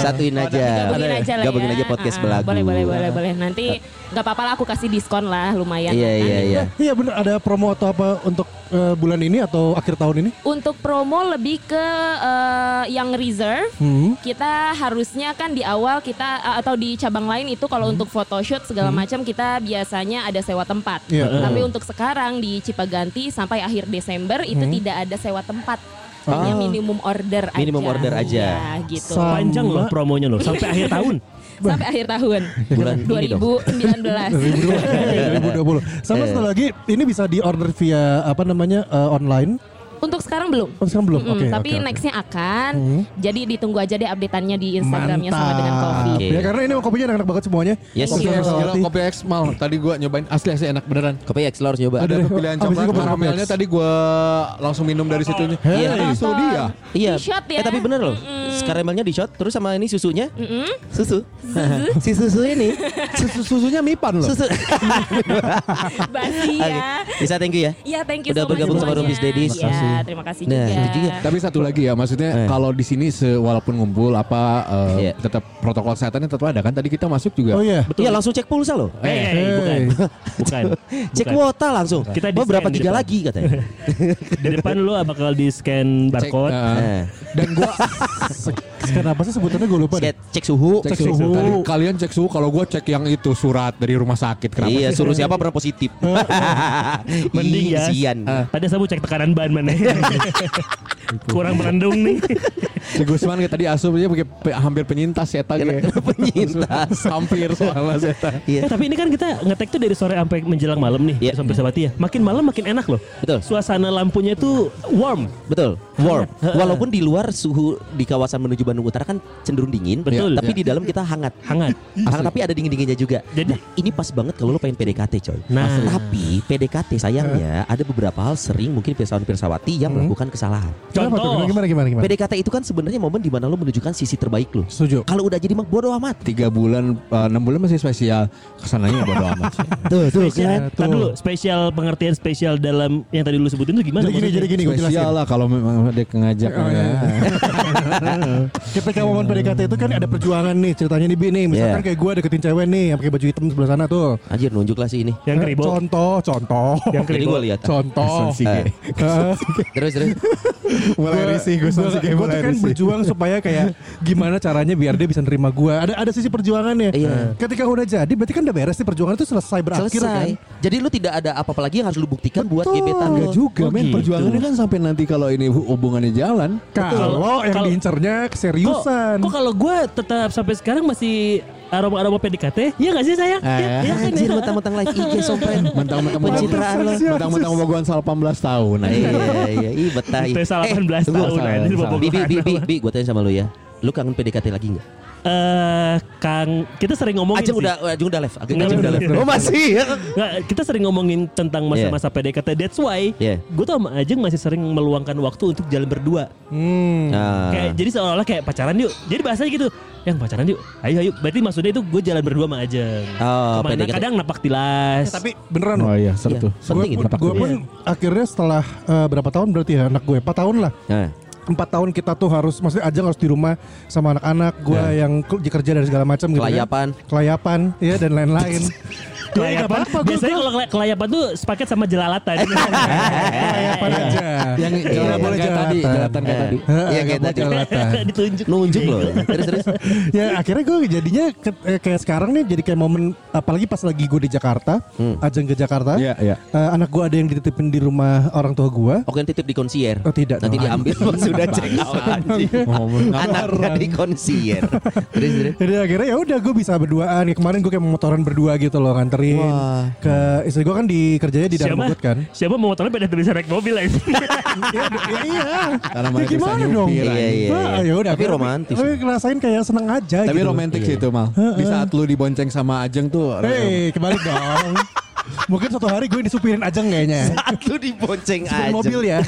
Satuin aja.
Gabungin aja lah
Gabungin
ya.
aja podcast
Ah,
belagu.
Boleh, boleh, boleh, boleh. Nanti nggak apa-apa lah aku kasih diskon lah lumayan.
Iya,
kan.
iya, iya.
Iya bener ada promo atau apa untuk eh, bulan ini atau akhir tahun ini?
Untuk promo lebih ke eh, yang reserve.
Hmm.
Kita harusnya kan di awal kita eh, atau di cabang lain itu kalau
Hmm.
untuk photoshoot segala macam kita biasanya ada sewa tempat.
Iya.
Tapi untuk sekarang di Cipaganti sampai akhir Desember itu tidak ada sewa tempat. Hanya
Hmm. Ah.
minimum order aja.
Minimum order aja.
Iya, gitu.
Sama.
Panjang loh promonya loh sampai akhir tahun.
Sampai akhir tahun
Bulan ini dong.
2020.
Iya.
2019.
Sama satu lagi, ini bisa di order via apa namanya eh, online.
Untuk sekarang belum.
Oh, sekarang belum.
Mm-mm,
Oke.
tapi
oke, oke.
nextnya akan.
Mm-hmm.
Jadi ditunggu aja deh updateannya di Instagramnya sama dengan Coffee.
Oke.
Ya karena ini emang kopinya enak banget semuanya.
Iya. Yes.
Kopi
Iya.
X, gila,
Melati.
kopi X mal. Tadi gua nyobain asli asli enak beneran.
Kopi X lo harus nyoba.
Ada
deh,
pilihan
apa sih
coklat
kopi X?
karamelnya tadi gua langsung minum dari situnya.
Hei.
itu dia.
Iya.
Di-shot ya.
Eh tapi bener loh. Karamelnya di shot terus sama ini susunya. Susu. si susu ini.
Susu susunya Mipan loh.
Susu.
Basi ya.
Bisa thank you ya.
Ya thank you
Udah
so much
bergabung sama
semuanya.
Rumpis Daddies.
Ya, terima kasih
Nah,
juga.
itu juga.
Tapi satu lagi ya, maksudnya
Eh.
kalau di sini se- walaupun ngumpul apa eh,
Iya.
tetap protokol kesehatannya tetap ada kan. Tadi kita masuk juga.
Oh iya.
Iya langsung cek pulsa loh.
Eh, eh, bukan. Bukan.
Cek
Bukan.
kuota langsung.
Kita
Wah, berapa
di-scan di
giga
depan.
lagi katanya.
Di depan lu bakal di scan
Cek,
barcode.
eh,
Eh.
dan gua
Kenapa sih sebutannya gue lupa deh.
Cek, cek suhu.
Cek
cek, suhu.
suhu.
Tadi kalian cek suhu kalau gua cek yang itu surat dari rumah sakit kenapa?
Iya, suruh siapa pernah positif.
Mending
eh, Ih,
ya.
kesian.
Pada sabu cek tekanan ban mana. ya. Kurang merendung nih.
Si Gusman kayak tadi asumsinya pakai pe- hampir penyintas ya tadi.
Karena Iya, penyintas.
hampir soalnya Zeta.
Iya.
Eh, tapi ini kan kita ngetek tuh dari sore sampai menjelang malam nih,
Iya.
sampai sabati ya. Makin malam makin enak loh.
Betul.
Suasana lampunya tuh warm.
Betul, warm. Walaupun di luar suhu di kawasan menuju Bandung Utara kan cenderung dingin, ya,
Betul.
Tapi di dalam kita hangat.
hangat.
Hangat tapi ada dingin-dinginnya juga.
Jadi-
Nah, ini pas banget kalau lu pengen PDKT, coy.
Nah.
Asli. tapi PDKT sayangnya ada beberapa hal sering mungkin pirsawan pirsawati yang melakukan kesalahan.
Kenapa tuh?
Contoh,
Gimana gimana gimana?
PDKT itu kan sebenarnya momen di mana lu menunjukkan sisi terbaik lu.
Setuju.
Kalau udah jadi mah bodo amat.
Tiga bulan, eh, enam bulan masih spesial. Kesananya ya bodo amat. sih.
Tuh, tuh
spesial,
Tuh.
Tar dulu, spesial pengertian spesial dalam yang tadi lu sebutin tuh gimana?
Jadi gini, jadi
maksudnya?
gini gue
spesial
jelasin.
lah kalau memang ada ngajak. ya.
Oh, iya. Ketika momen PDKT itu kan ada perjuangan nih ceritanya nih Bi nih. Misalkan
Iya.
kayak gue deketin cewek nih yang pakai baju hitam sebelah sana tuh.
Anjir nunjuk lah sih ini.
Yang keribo,
Contoh, contoh.
yang
Jadi
keribo.
gua lihat.
Contoh.
Eh, Terus terus.
mulai risih gue
Gua- gua
sih
tuh
mulai
kan
risih.
berjuang supaya kayak gimana caranya biar dia bisa nerima gue. Ada ada sisi perjuangannya.
Iya.
Ketika udah jadi berarti kan udah beres nih perjuangan itu selesai berakhir
Selesai.
kan.
Jadi lu tidak ada apa-apa lagi yang harus lu buktikan buat gebetan lu.
Enggak juga,
Oh,
men.
gitu.
Perjuangannya kan sampai nanti kalau ini hu- hubungannya jalan.
Kalau yang
Kalau-
diincernya
Kok,
keseriusan.
kok kalau gue tetap sampai sekarang masih aroma-aroma PDKT, ya gak sih sayang? Ya,
Eh,
ya kan,
Anjir
ya.
mentang-mentang live IG sompren.
Mentang-mentang
Pencitraan lo.
Mentang-mentang umur gua 18 tahun.
Iya iya iya betah.
Itu salah 18
gua
tahun
salah,
anjir,
salah.
bobogohan.
Bi bi bi bi, bi gue tanya sama lu ya. Lu kangen PDKT lagi enggak?
Eh, Kang, kita sering ngomongin
Ajeng
sih.
udah Ajeng udah live. Ajeng,
Nggak,
Ajeng udah
udah
live.
live.
Oh masih.
Nggak, kita sering ngomongin tentang masa-masa PDKT. That's why
Iya.
gue tuh sama Ajeng masih sering meluangkan waktu untuk jalan berdua.
Hmm,
Nah,
Kayak jadi seolah-olah kayak pacaran yuk. Jadi bahasanya gitu, yang pacaran yuk. Ayo ayo. Berarti maksudnya itu gue jalan berdua sama Ajeng.
Oh,
Kemana?
PDKT.
Kadang napak tilas.
Tapi beneran
Oh
loh.
iya, seru
Iya,
tuh.
penting itu.
Gue pun akhirnya setelah eh, berapa tahun berarti ya anak gue 4 tahun lah.
Nah,
Empat tahun kita tuh harus maksudnya Ajeng harus di rumah sama anak-anak gue yang ke- kerja dari segala macam gitu. kan.
Kelayapan.
Kelayapan ya dan lain-lain. Ya, nggak
kelayapan.
apa-apa, gua-
biasanya
gua-
kalau kela- kelayapan tuh sepaket sama jelalatan.
kelayapan aja.
Eh, Yang
Iya,
jalan boleh
iya.
kayak tadi, jalatan kayak
Eh.
tadi.
Iya,
Nggak
kayak
mau
tadi.
jelalatan.
Ditunjuk.
nunjuk loh. Terus terus.
ya akhirnya gue jadinya ke- eh, kayak sekarang nih jadi kayak momen apalagi pas lagi gue di Jakarta ajeng ke Jakarta
Hmm. Iya, iya.
eh, anak gue ada yang dititipin di rumah orang tua gue
Oke titip di konsier.
Oh, tidak
Nanti
dong.
diambil pas sudah cek out. anjing. Anaknya di konsier. Terus terus.
jadi akhirnya ya udah gue bisa berduaan ya kemarin gue kayak mau motoran berdua gitu loh nganter anterin
Wah.
ke istri gue kan di kerjanya di dalam Bogor kan.
siapa mau motornya beda tulisan naik mobil ya
Iya, ya, iya. Ya,
Karena
gimana
mana tulisannya
dong?
Iya,
Fira.
iya, iya.
Ah, ya udah.
Tapi
gua-
romantis.
Gue ngerasain kayak seneng aja
Tapi
gitu.
romantis itu mal. Di saat lu dibonceng sama Ajeng tuh.
Hei, kebalik dong. Mungkin suatu hari gue disupirin aja kayaknya.
Saat lu dibonceng
Supir
aja.
mobil ya.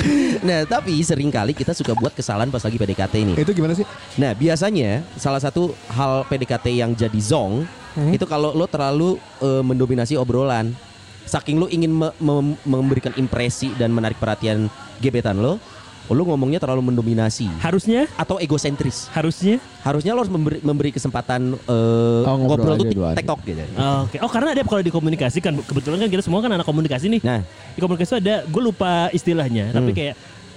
Nah, tapi seringkali kita suka buat kesalahan pas lagi PDKT ini.
Itu gimana sih?
Nah, biasanya salah satu hal PDKT yang jadi zong itu kalau lo terlalu eh, mendominasi obrolan. Saking lo ingin me- mem- memberikan impresi dan menarik perhatian gebetan lo, lo ngomongnya terlalu mendominasi
harusnya
atau egosentris.
harusnya
Harusnya lo harus memberi, memberi kesempatan eh,
Oh,
ngobrol,
ngobrol
tuh
aja dulu aja.
tiktok gitu.
Oh, Oke, oh karena ada kalau dikomunikasikan kebetulan kan kita semua kan anak komunikasi nih.
Nah.
Di komunikasi itu ada, gue lupa istilahnya, tapi
Hmm.
kayak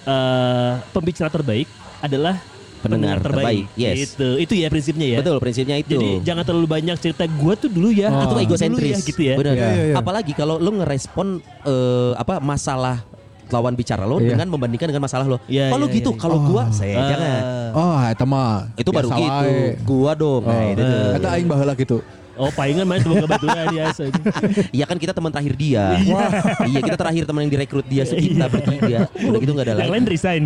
eh, pembicara terbaik adalah
Pendengar terbaik, yes.
Gitu. Itu ya prinsipnya ya.
Betul prinsipnya itu.
Jadi jangan terlalu banyak cerita gue tuh dulu ya,
atau
dulu ya,
egosentris
gitu ya.
Benar.
Iya, iya, iya.
Apalagi kalau lo ngerespon eh, apa masalah lawan bicara lo
Iya.
dengan membandingkan dengan masalah lo.
Iya,
kalau
iya,
gitu,
iya.
kalau gua saya
Eh,
jangan.
Oh, itu mah.
Itu baru
biasa
gitu.
wae.
Gua dong.
Ah.
Nah,
Oh.
itu tuh.
Iya.
Kata aing baheula gitu.
Oh palingan main semoga ya, baturan biasa.
Iya kan kita teman terakhir dia. iya kita terakhir teman yang direkrut dia kita bertiga. Udah gitu nggak ada
Iya. Yang
lagi.
lain resign.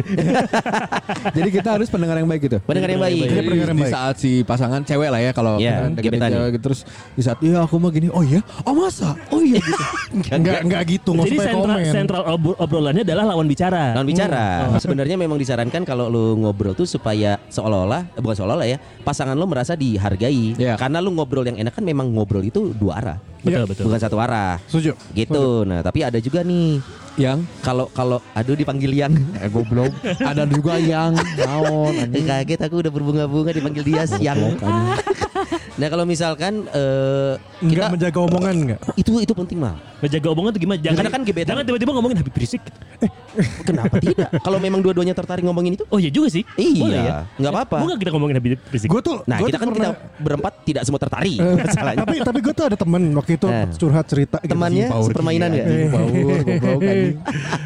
Jadi kita harus pendengar yang baik gitu.
Pendengar yang
Iya,
baik.
Jadi di saat si pasangan cewek lah ya kalau
Iya,
pasangan deketin
gebetan.
cewek gitu. terus di saat iya aku mah gini oh iya oh masa oh iya gitu
Kan
Enggak enggak gitu nggak
Jadi
usah pakai
sentral,
komen.
sentral obrol- obrolannya adalah lawan bicara. Hmm.
Lawan bicara. Sebenarnya memang disarankan kalau lu ngobrol tuh supaya seolah-olah eh, bukan seolah-olah ya, pasangan lu merasa dihargai.
Iya.
Karena lu ngobrol yang enak kan memang ngobrol itu dua arah. Ya.
Betul betul.
Bukan satu arah.
Setuju.
Gitu. Nah, tapi ada juga nih
yang
kalau kalau aduh dipanggil yang
eh, goblok ada juga yang naon
Eh,
anjing.
kaget aku udah berbunga-bunga dipanggil dia siang. nah, kalau misalkan eh,
Enggak
kita
menjaga omongan enggak?
itu itu penting mal.
Menjaga Oh. omongan tuh gimana? Jangan,
Karena kan gebetan-
Jangan tiba-tiba ngomongin Habib Rizik.
Kenapa tidak? Kalau memang dua-duanya tertarik ngomongin itu,
Oh iya juga sih.
Iya,
Boleh ya.
nggak apa-apa.
Mau nggak kita ngomongin Habib Rizik?
Gue tuh
nah
gua tuh
kita kan
pernah-
kita berempat tidak semua tertarik
Eh,
masalahnya.
tapi tapi gue tuh ada temen waktu itu
Eh.
curhat cerita gitu.
Temannya
Power
sepermainan
gila,
nggak?
anjing,
Eh.
power, goblok, anjing.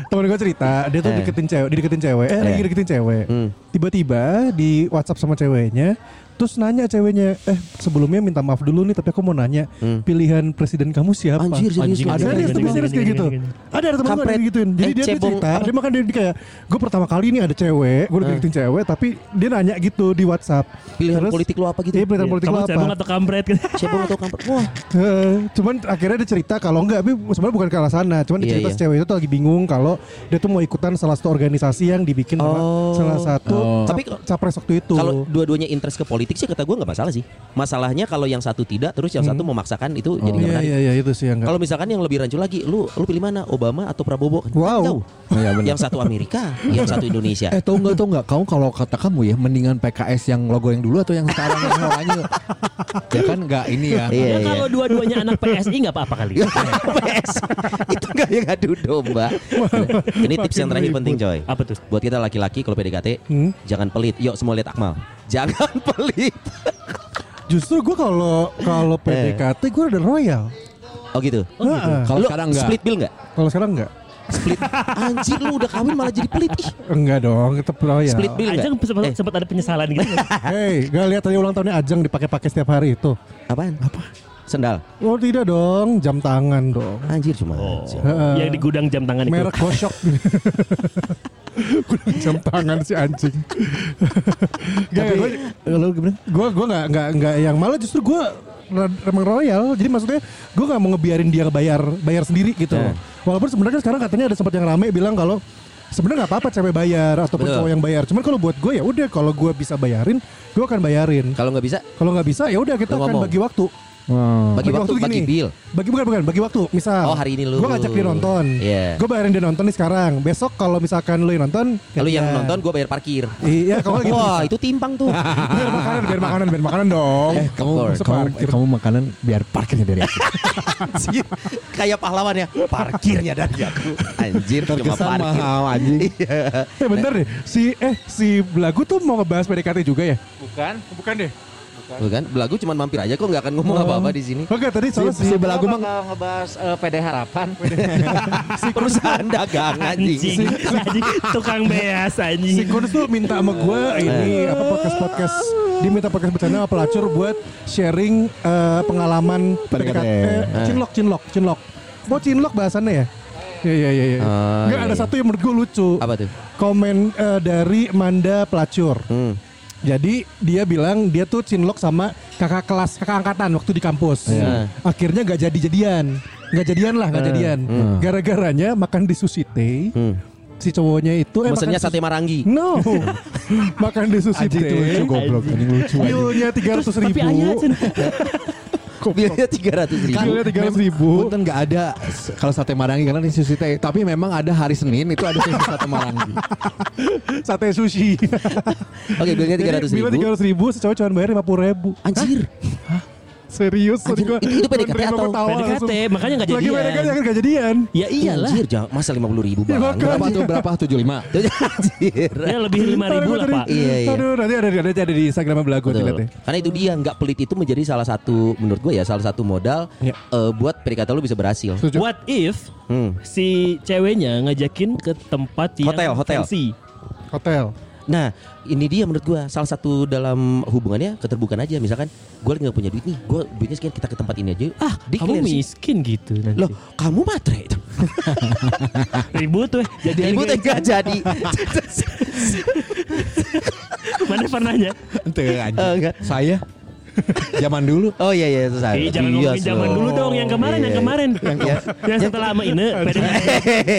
temen gue cerita dia tuh
Eh.
deketin cewek dia deketin cewek eh lagi
Eh.
deketin cewek
Hmm.
tiba-tiba di WhatsApp sama ceweknya terus nanya ceweknya eh sebelumnya minta maaf dulu nih tapi aku mau nanya pilihan presiden kamu siapa
Hmm. Anjir, serius
Anjing,
lu.
ada ada
anjing, anjing,
tapi serius
anjing,
kayak gitu
anjing, anjing,
ada ada temen gue
Kampret.
digituin jadi
Eh,
dia tuh
cebong. Eh.
cerita dia makan dia kayak gue pertama kali nih ada cewek gue deketin cewek tapi dia nanya gitu di WhatsApp
Pilihan
Terus,
politik lu apa gitu?
iya pilihan politik lu
Kamu
apa
cebong atau kampret?
Cebong atau kampret? Wah,
Eh, cuman akhirnya dia cerita kalau enggak tapi sebenarnya bukan ke arah sana cuman dia
Iya,
cerita
iya.
si cewek itu tuh lagi bingung kalau dia tuh mau ikutan salah satu organisasi yang dibikin sama
Oh.
salah satu
Oh.
cap-
Tapi kalau-
capres waktu itu
kalau dua-duanya interest ke politik sih kata gue nggak masalah sih. Masalahnya kalau yang satu tidak, terus yang
Hmm.
satu memaksakan
Oh,
itu jadi nggak
iya
menarik.
iya iya itu sih yang enggak
Kalau misalkan yang lebih rancu lagi, lu lu pilih mana? Obama atau Prabowo? Kan
Wow.
jauh.
Iya, benar.
yang satu Amerika, yang satu Indonesia.
eh tau nggak tau nggak kamu kalau kata kamu ya mendingan PKS yang logo yang dulu atau yang sekarang yang orangnya ya kan nggak ini
Iya,
ya
Ya
iya.
kalau dua-duanya anak PSI nggak apa-apa kali.
PS. Ya, itu nggak yang adu domba. Ini tips yang terakhir penting coy.
Apa tuh?
Buat kita laki-laki kalau PDKT,
Hmm.
jangan pelit. Yuk semua lihat Akmal. Jangan pelit.
justru gue kalau kalau PDKT gue ada royal
Oh Eh. gitu.
Heeh.
kalau
Lu
sekarang nggak
split bill nggak?
kalau sekarang enggak
Split. Anjir lu udah kawin malah jadi pelit. Ih,
enggak dong tetap royal
split bill
Ajeng
nggak?
sempat,
Eh.
sempat ada penyesalan gitu.
Hei, gak lihat tadi ulang tahunnya Ajeng dipakai-pakai setiap hari itu.
Apaan? Apa? Sendal.
Oh tidak dong, jam tangan dong.
Anjir cuma.
Heeh.
Yang di gudang jam tangan itu.
merek Goshok Gua udah jam tangan si anjing Gak, gue
lu gimana
gue gue nggak nggak nggak yang malah justru gue emang royal jadi maksudnya gue nggak mau ngebiarin dia bayar bayar sendiri gitu
Ya.
walaupun sebenarnya sekarang katanya ada sempat yang rame bilang kalau sebenarnya nggak apa-apa cewek bayar ataupun
Betul.
cowok yang bayar cuman kalau buat gue ya udah kalau gue bisa bayarin gue akan bayarin
Kalau nggak bisa,
kalau nggak bisa ya udah kita
Lu
akan
ngomong.
bagi waktu
Hmm.
bagi waktu,
tuh
bagi
gini.
bill.
Bagi bukan bukan bagi waktu. Misal
Oh, hari ini lu.
Gue ngajak dia nonton.
Iya.
Gue bayarin dia nonton nih sekarang. Besok kalau misalkan lu yang nonton,
Kalau yang
gantian.
nonton gue bayar parkir.
Iya, kalau gitu.
Wah, itu timpang tuh.
biar makanan, biar makanan, biar makanan dong.
eh kamu
course,
kamu,
parkir.
kamu makanan biar parkirnya dari aku
Anjir, kayak pahlawan ya. Parkirnya dari aku. Anjir, cuma
terkesan
parkir.
mahal anjing
Eh bentar deh. Si eh si Belagu tuh mau ngebahas PDKT juga ya?
Bukan,
Bukan deh.
Tuh kan? Belagu cuma mampir aja kok nggak akan ngomong apa-apa di sini.
Oke tadi
Si,
soalnya
si
si,
belagu
Gua
mang
bakal ngebahas eh, PD Harapan.
Perusahaan dagang anjing.
Anjing, anjing, tukang beas
si
anjing.
Kudus tuh minta sama gue
Eh.
ini apa podcast podcast dia minta podcast bercanda sama pelacur buat sharing eh, pengalaman
PDKT.
PDKT eh, cinlok cinlok cinlok mau cinlok bahasannya ya Iya iya iya. Ya.
Ah,
Nggak,
iya,
ada
iya.
satu yang menurut gue lucu.
Apa tuh?
Komen eh, dari Manda Pelacur.
Hmm.
Jadi dia bilang dia tuh cinlok sama kakak kelas kakak angkatan waktu di kampus.
Iya. Eh.
Akhirnya nggak jadi jadian, nggak jadian lah nggak jadian. Gara-garanya makan di sushi teh.
Hmm.
Si cowoknya itu eh,
Mesennya
makan
sate marangi.
sushi- No, makan di sushi
Anjing itu lucu
teh.
Gitu, goblok Anjing lucu anjing.
Bilnya tiga ratus
Tapi
ribu.
ayah Cen.
Bilnya tiga ratus ribu.
Bilnya tiga ratus ribu.
Punten nggak ada s- kalau sate marangi karena di sushi teh. Tapi memang ada hari Senin itu ada sushi sate marangi.
Sate sushi.
Oke, bilnya tiga ratus
Bilnya tiga
ribu.
ratus ribu, si cowok cuma bayar lima puluh ribu.
Anjir,
Serius, tadi
Anjing,
gua
itu- itu PDKT
nerima
atau-
ketawa
PDKT,
langsung.
makanya nggak
Lagi
jadian.
PDKT kan nggak jadian.
Ya iyalah.
Anjir, jangan- masa lima puluh ribu
Ya,
bang.
makanya.
Berapa tuh? Berapa? 75.
Anjir.
Ya lebih 5000 lah,
Aduh,
Pak.
Iya, iya.
Aduh, nanti ada ada ada di Instagram belagu
Betul.
dilihat ya.
Karena itu dia nggak pelit itu menjadi salah satu menurut gue ya salah satu modal
Iya.
eh, buat perikata lu bisa berhasil.
Setuju.
What if
Hmm.
si ceweknya ngajakin ke tempat yang
Hotel, hotel.
fancy?
Hotel.
Nah ini dia menurut gue salah satu dalam hubungannya keterbukaan aja misalkan gue lagi nggak punya duit nih gue duitnya sekian kita ke tempat ini aja ah
Kamu
sih.
miskin gitu nanti.
Loh kamu matre
ribut weh. Jadi
Ibu
ribut
tega jadi
Mana pernahnya?
Ente anjing.
Eh, enggak.
Saya zaman dulu
Oh iya iya susah
Ih, Eh, jangan ngomongin zaman dulu dong yang kemarin, yang kemarin. Yang setelah sama Ine, PDKT.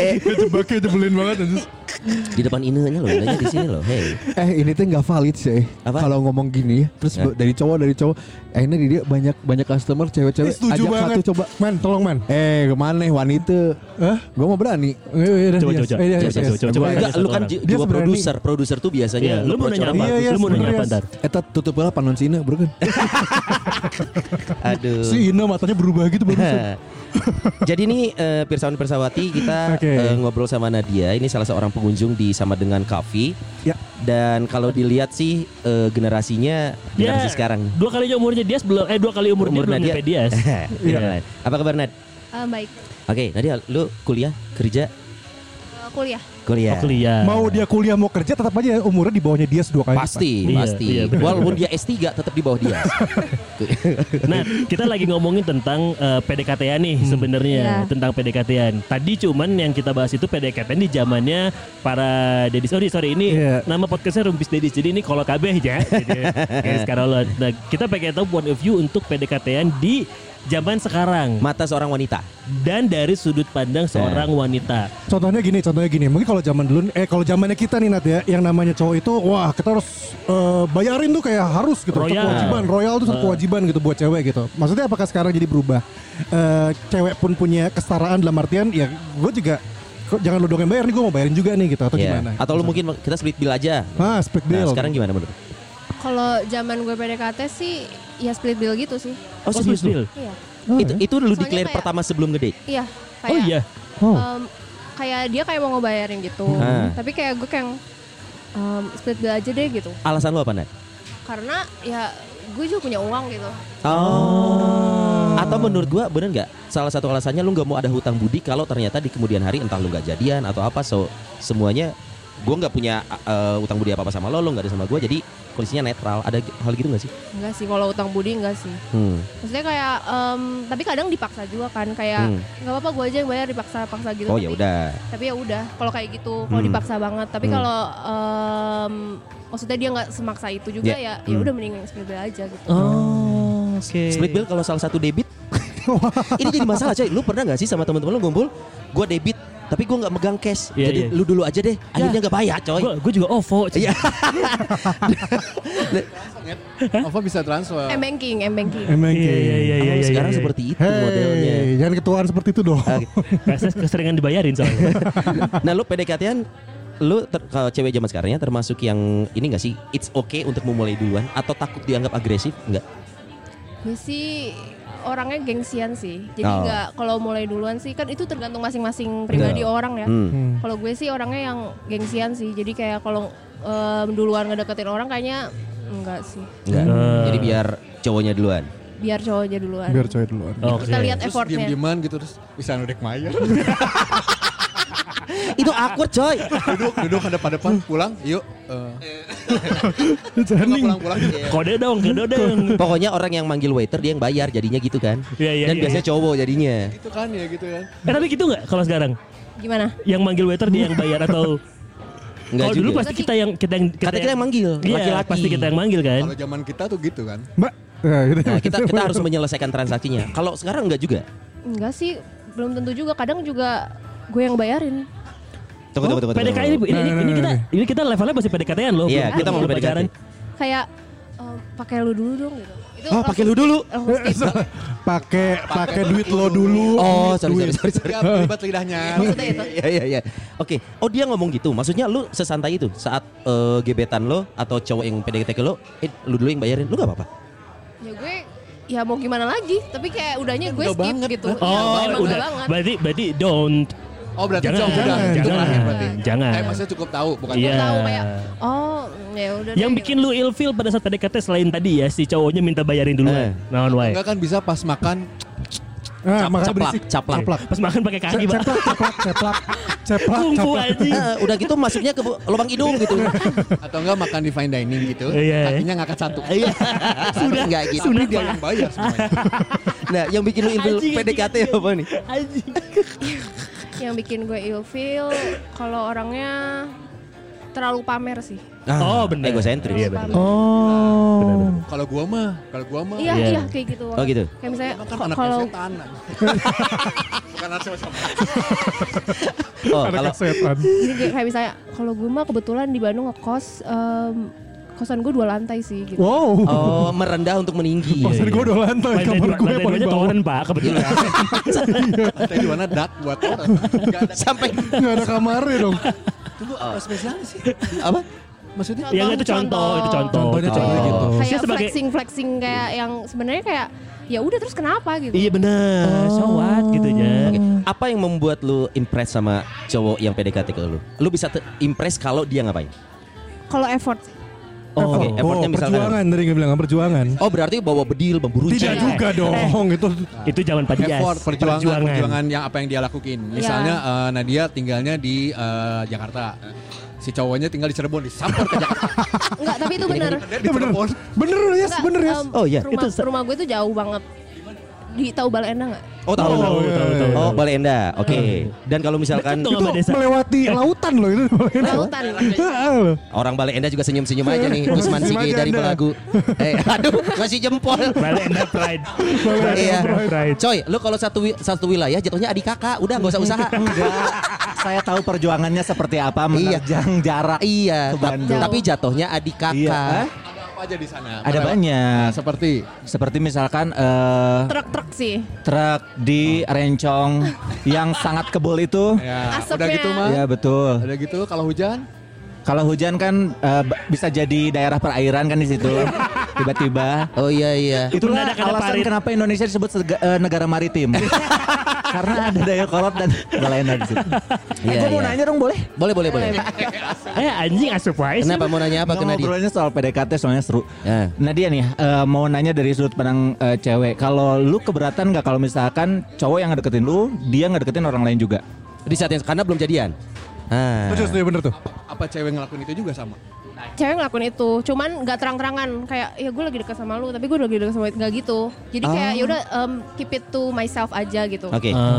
Jebaknya jebelin banget anjir.
Di depan inenya loh inenya di sini loh Hey
Eh ini tuh nggak valid sih
Apa?
Kalau ngomong gini ya Terus
Ya.
dari cowok dari cowok Akhirnya dia banyak banyak customer
Ini
cewek-cewek
Eh, setuju
Ajak
banget.
satu coba
Man, tolong man.
Eh kemana nih wanita
Hah?
Gue mau berani Eh,
Iya, iya, iya,
Coba,
iya.
coba, coba.
Iya, iya, iya,
Coba, coba, coba, coba.
iya.
Enggak lu kan
orang.
ju-
Dia
juga
seberani.
produser Produser tuh
Iya,
biasanya
lu mau
approach
nanya
orang
apa?
Iya, iya,
Lu mau nanya apa
serius.
ntar?
Eta eh, tutup lah panon Cina bro kan
bagus. Aduh
Si Ina matanya berubah gitu barusan.
Jadi ini eh, Pirsawan Persawati kita
Oke.
eh, ngobrol sama Nadia. Ini salah seorang pengunjung di sama dengan Kavi.
Ya.
Dan kalau dilihat sih eh, generasinya generasi sekarang.
Iya. Dua kali umurnya dia sebelum eh dua kali Ya. umur, dia belum nyampe Dias.
Ya.
Iya. Apa kabar Nad?
Ah, baik,
Oke, Nadia, lu kuliah, kerja,
Eh, kuliah.
kuliah.
Oh, kuliah.
Mau dia kuliah mau kerja tetap aja umurnya di bawahnya dia dua kali.
Pasti,
Iya,
pasti.
iya, benar.
Walaupun dia S3 tetap di bawah dia.
Nah, kita lagi ngomongin tentang eh, PDKT-an nih sebenarnya,
Iya.
tentang PDKT-an. Tadi cuman yang kita bahas itu PDKT di zamannya para Dedis. Sorry, sorry ini
Iya.
nama podcastnya Rumpis Dedis. Jadi ini kalau kabeh ya. Jadi guys, karolot. Nah, kita pengen tahu point of view untuk PDKT-an di zaman sekarang
Mata seorang wanita.
dan dari sudut pandang seorang wanita.
Contohnya gini, contohnya gini. Mungkin kalau zaman dulu, eh kalau zamannya kita nih Nat ya, yang namanya cowok itu, wah kita harus eh, bayarin tuh kayak harus gitu. Satu
Royal.
kewajiban, royal tuh satu kewajiban gitu buat cewek gitu. Maksudnya apakah sekarang jadi berubah? Eh, cewek pun punya kesetaraan dalam artian, ya gue juga kok jangan lu dong yang bayar nih, gue mau bayarin juga nih gitu atau
Iya.
gimana?
Atau lu mungkin kita split bill aja.
Ah, split
Nah,
bill.
sekarang gimana menurut? lu?
Kalau zaman gue PDKT sih ya split bill gitu sih.
Oh, serius lu?
Bill?
Iya.
Oh, Ah.
Itu
ya.
itu lu
Soalnya
declare
kayak-
pertama sebelum ngedate.
Iya, kayak
Oh iya.
em, kayak dia kayak mau ngebayarin gitu.
Ah.
Tapi kayak gue kayak em, split bill aja deh gitu.
Alasan lu apa, Nat?
Karena ya gue juga punya uang gitu.
Oh. Atau menurut gua bener nggak salah satu alasannya lu nggak mau ada hutang budi kalau ternyata di kemudian hari entah lu nggak jadian atau apa so semuanya gua nggak punya uh, hutang budi apa apa sama lo lo nggak ada sama gua jadi kondisinya netral ada g- hal gitu nggak sih?
Enggak sih kalau utang budi enggak sih.
Hmm.
Maksudnya kayak em, tapi kadang dipaksa juga kan kayak
Hmm.
nggak apa-apa gue aja yang bayar dipaksa-paksa gitu.
Oh
Tapi-
ya udah.
Tapi ya udah kalau kayak gitu kalau
Hmm.
dipaksa banget. Tapi
Hmm.
kalau em, maksudnya dia nggak semaksa itu juga
Ya.
ya ya
Hmm.
udah mending split bill aja gitu.
Oh, oke.
Split bill kalau salah satu debit ini jadi masalah coy. Lu pernah nggak sih sama teman-teman lu ngumpul? Gua debit tapi gua nggak megang cash.
Iya,
jadi
iya. Ya.
lu dulu aja deh. Akhirnya nggak bayar coy.
Gue juga OVO.
Iya.
cuy.
Apa bisa transfer
M banking, M banking.
Emang
Iya, iya, iya, iya,
Oh,
iya,
sekarang
iya.
seperti itu modelnya.
Hei, jangan ketuaan seperti itu dong.
Oke.
Rasa keseringan dibayarin soalnya.
Nah lu PDKT-an lu ter, kalau cewek zaman sekarangnya termasuk yang ini gak sih it's okay untuk memulai duluan atau takut dianggap agresif enggak
Gue sih orangnya gengsian sih. Jadi
Oh.
nggak kalau mulai duluan sih kan itu tergantung masing-masing pribadi orang ya.
hmm.
Hmm.
Kalau gue sih orangnya yang gengsian sih. Jadi kayak kalau em, duluan ngedeketin orang kayaknya Enggak sih.
Enggak.
Hmm.
Jadi biar cowoknya duluan.
Biar cowoknya duluan.
biar cewek duluan.
Oke.
Kita lihat
Terus
ya.
effortnya.
diem-dieman gitu terus bisa nudek Maya.
Itu awkward coy.
duduk duduk depan-depan pulang yuk. Eh, nggak pulang-pulang. ya,
Kode dong, kode dong.
Pokoknya orang yang manggil waiter dia yang bayar jadinya gitu kan.
Iya, iya,
Dan
iya,
biasanya cowok jadinya.
Gitu kan ya gitu kan.
Eh tapi gitu nggak kalau sekarang?
Gimana?
Yang manggil waiter dia yang bayar atau
Enggak
kalau
juga.
dulu pasti kita yang kita yang
Kata kita yang manggil,
Iya,
laki-laki.
pasti kita yang manggil kan.
Kalau zaman kita tuh gitu kan.
Mbak. Nah, gitu.
Nah, kita kita harus menyelesaikan transaksinya. Kalau sekarang enggak juga.
Enggak sih. Belum tentu juga. Kadang juga gue yang bayarin.
Oh,
Tunggu, tunggu, tunggu. tunggu,
PDKT ini,
tunggu.
ini, ini kita ini kita levelnya masih PDKT-an loh.
Nah. Iya,
belum-
kita mau
belum
PDKT.
pacaran.
Kayak eh, pakai lu dulu dong gitu. Itu
Oh, pakai lu dulu.
langsung skip.
pakai pakai duit lo dulu.
Oh, sorry, sorry, sorry, sorry.
Ya, terlibat lidahnya.
Maksudnya gitu. itu.
Iya, iya, iya. Oke. Oh, dia ngomong gitu. Maksudnya lu sesantai itu saat eh, gebetan lo atau cowok yang PDKT ke lo, eh, lu dulu yang bayarin. Lu enggak apa-apa.
Ya gue ya mau gimana lagi tapi kayak udahnya gue
Udah
skip
Kan banget.
gitu
Oh,
Ya,
Oh,
emang
udah. Berarti berarti don't
Oh, berarti
jangan
jauh udah.
jangan
Cukup lahir
jangan.
berarti.
jangan.
Eh, maksudnya cukup tahu bukan
Iya.
Gue tahu kayak oh ya udah
Yang
deh.
bikin lu ilfeel pada saat PDKT selain tadi ya si cowoknya minta bayarin duluan.
Eh.
Nah, why?
Enggak kan bisa pas makan
Ah,
Cap-
makanya
caplak,
berisik.
caplak.
Caplak.
Pas makan pakai kaki,
Ce-
Pak.
Ceplak, ceplak, ceplak, ceplak,
Kungfu
ceplak.
anjing.
Eh, udah gitu masuknya ke bu- lubang hidung gitu.
atau enggak makan di fine dining gitu.
Iya, iya.
Kakinya ngangkat satu.
Iya.
Sudah,
Enggak gitu.
sudah,
Dia
Pak.
yang bayar semuanya.
Nah, yang bikin lu ilfil
Anjing,
PDKT
anjing,
apa nih?
Anjing.
yang bikin gue ilfeel kalau orangnya terlalu pamer sih
Oh, benar.
Ah, Egosentris.
Iya, benar.
Oh.
Kalau gua mah, kalau gua mah
iya
Iya.
iya kayak gitu
Oh, gitu.
kayak misalnya
Kan anaknya
kalau
setan. Bukan anak sama-sama.
Oh,
Ada
kalau
setan.
jadi kayak kayak misalnya kalau gue mah kebetulan di Bandung ngekos em, kosan gue dua lantai sih gitu
Wow.
oh, merendah untuk meninggi.
Pasir gue udah lantai,
Lantai
kamar
dua-
gue
lantai
paling
duanya
bawah.
toren, Pak, kebetulan.
Tadi mana dak buat orang. Enggak ada
Sampai
Gak ada kamarnya dong.
tunggu apa spesialnya sih?
apa?
Maksudnya
Ya enggak, itu contoh, itu contoh.
Contohnya
contoh
Oh.
gitu.
Saya
Oh. kayak
sebagai-
flexing flexing kayak yang sebenarnya kayak ya udah terus kenapa gitu
Iya benar. So what gitu ya.
Oke, Apa yang membuat lu impress sama cowok yang PDKT ke lu? Lu bisa te- impress kalau dia ngapain?
kalau effort
Oh, oke.
Oh,
Effortnya misalkan.
perjuangan tadi gak bilang perjuangan.
Oh, berarti bawa bedil, bambu runcing.
Tidak juga dong gitu. itu.
Itu zaman Pak Dias.
effort perjuangan, perjuangan yang apa yang dia lakuin. Misalnya eh, Nadia tinggalnya di eh, Jakarta. Si cowoknya tinggal di Cirebon, disamper ke Jakarta.
enggak tapi
Iya,
itu benar
Dia di Cirebon.
Bener yes,
Enggak, eh,
bener yes.
em,
Oh, iya.
rumah,
ya? Itu se-
rumah gue tuh jauh banget di tahu Balenda nggak
Oh,
Tahu,
tahu.
tahu, tahu, tahu.
Oh, Balenda. Oke. Dan kalau
kan?
misalkan
Itu
Betul. sama desa.
melewati Gitu. lautan loh itu.
lautan
Heeh, loh.
orang Balenda juga senyum-senyum aja nih Usman
Senyum
Sige
aja
dari
Anda.
Pelagu. Eh, aduh, ngasih jempol.
Balik Anda pride.
Balenda
Iya.
pride.
Coy, lu kalau satu wi- satu wilayah jatuhnya adik kakak, udah nggak usah usaha.
Enggak. Saya tahu perjuangannya seperti apa
Iya.
menerjang jarak.
iya,
Ke
ta-
Bandung.
tapi jatuhnya adik kakak.
Iya.
Ada apa aja di sana?
Ada
Mereka-
banyak.
Seperti
Seperti misalkan eh,
truk-truk sih
truk di
Oh.
Rencong yang sangat kebul itu.
ya,
Asapnya.
udah gitu mah.
Ya betul.
Udah gitu kalau hujan
Kalau hujan kan eh, b- bisa jadi daerah perairan kan di situ. Tiba-tiba.
Oh iya iya.
Itulah
Mendadak ada
alasan
parit.
kenapa Indonesia disebut sega- eh, negara maritim. Karena ada daya kolot dan galena di situ.
Iya,
Gue eh, mau
iya.
nanya dong boleh?
Boleh boleh boleh.
Eh anjing asup aja sih.
Kenapa mau nanya apa ke Nadia?
Ngobrolnya soal PDKT soalnya seru.
Ya.
Nadia nih eh, mau nanya dari sudut pandang eh, cewek. Kalau lu keberatan nggak kalau misalkan cowok yang ngedeketin lu, dia ngedeketin orang lain juga?
Di saat yang karena belum jadian. Ah.
Terus dia bener tuh.
apa cewek ngelakuin itu juga sama?
cewek ngelakuin itu cuman nggak terang-terangan kayak ya gue lagi dekat sama lu tapi gue lagi dekat sama nggak gitu jadi kayak ya udah em, keep it to myself aja gitu
Oke.
Ah.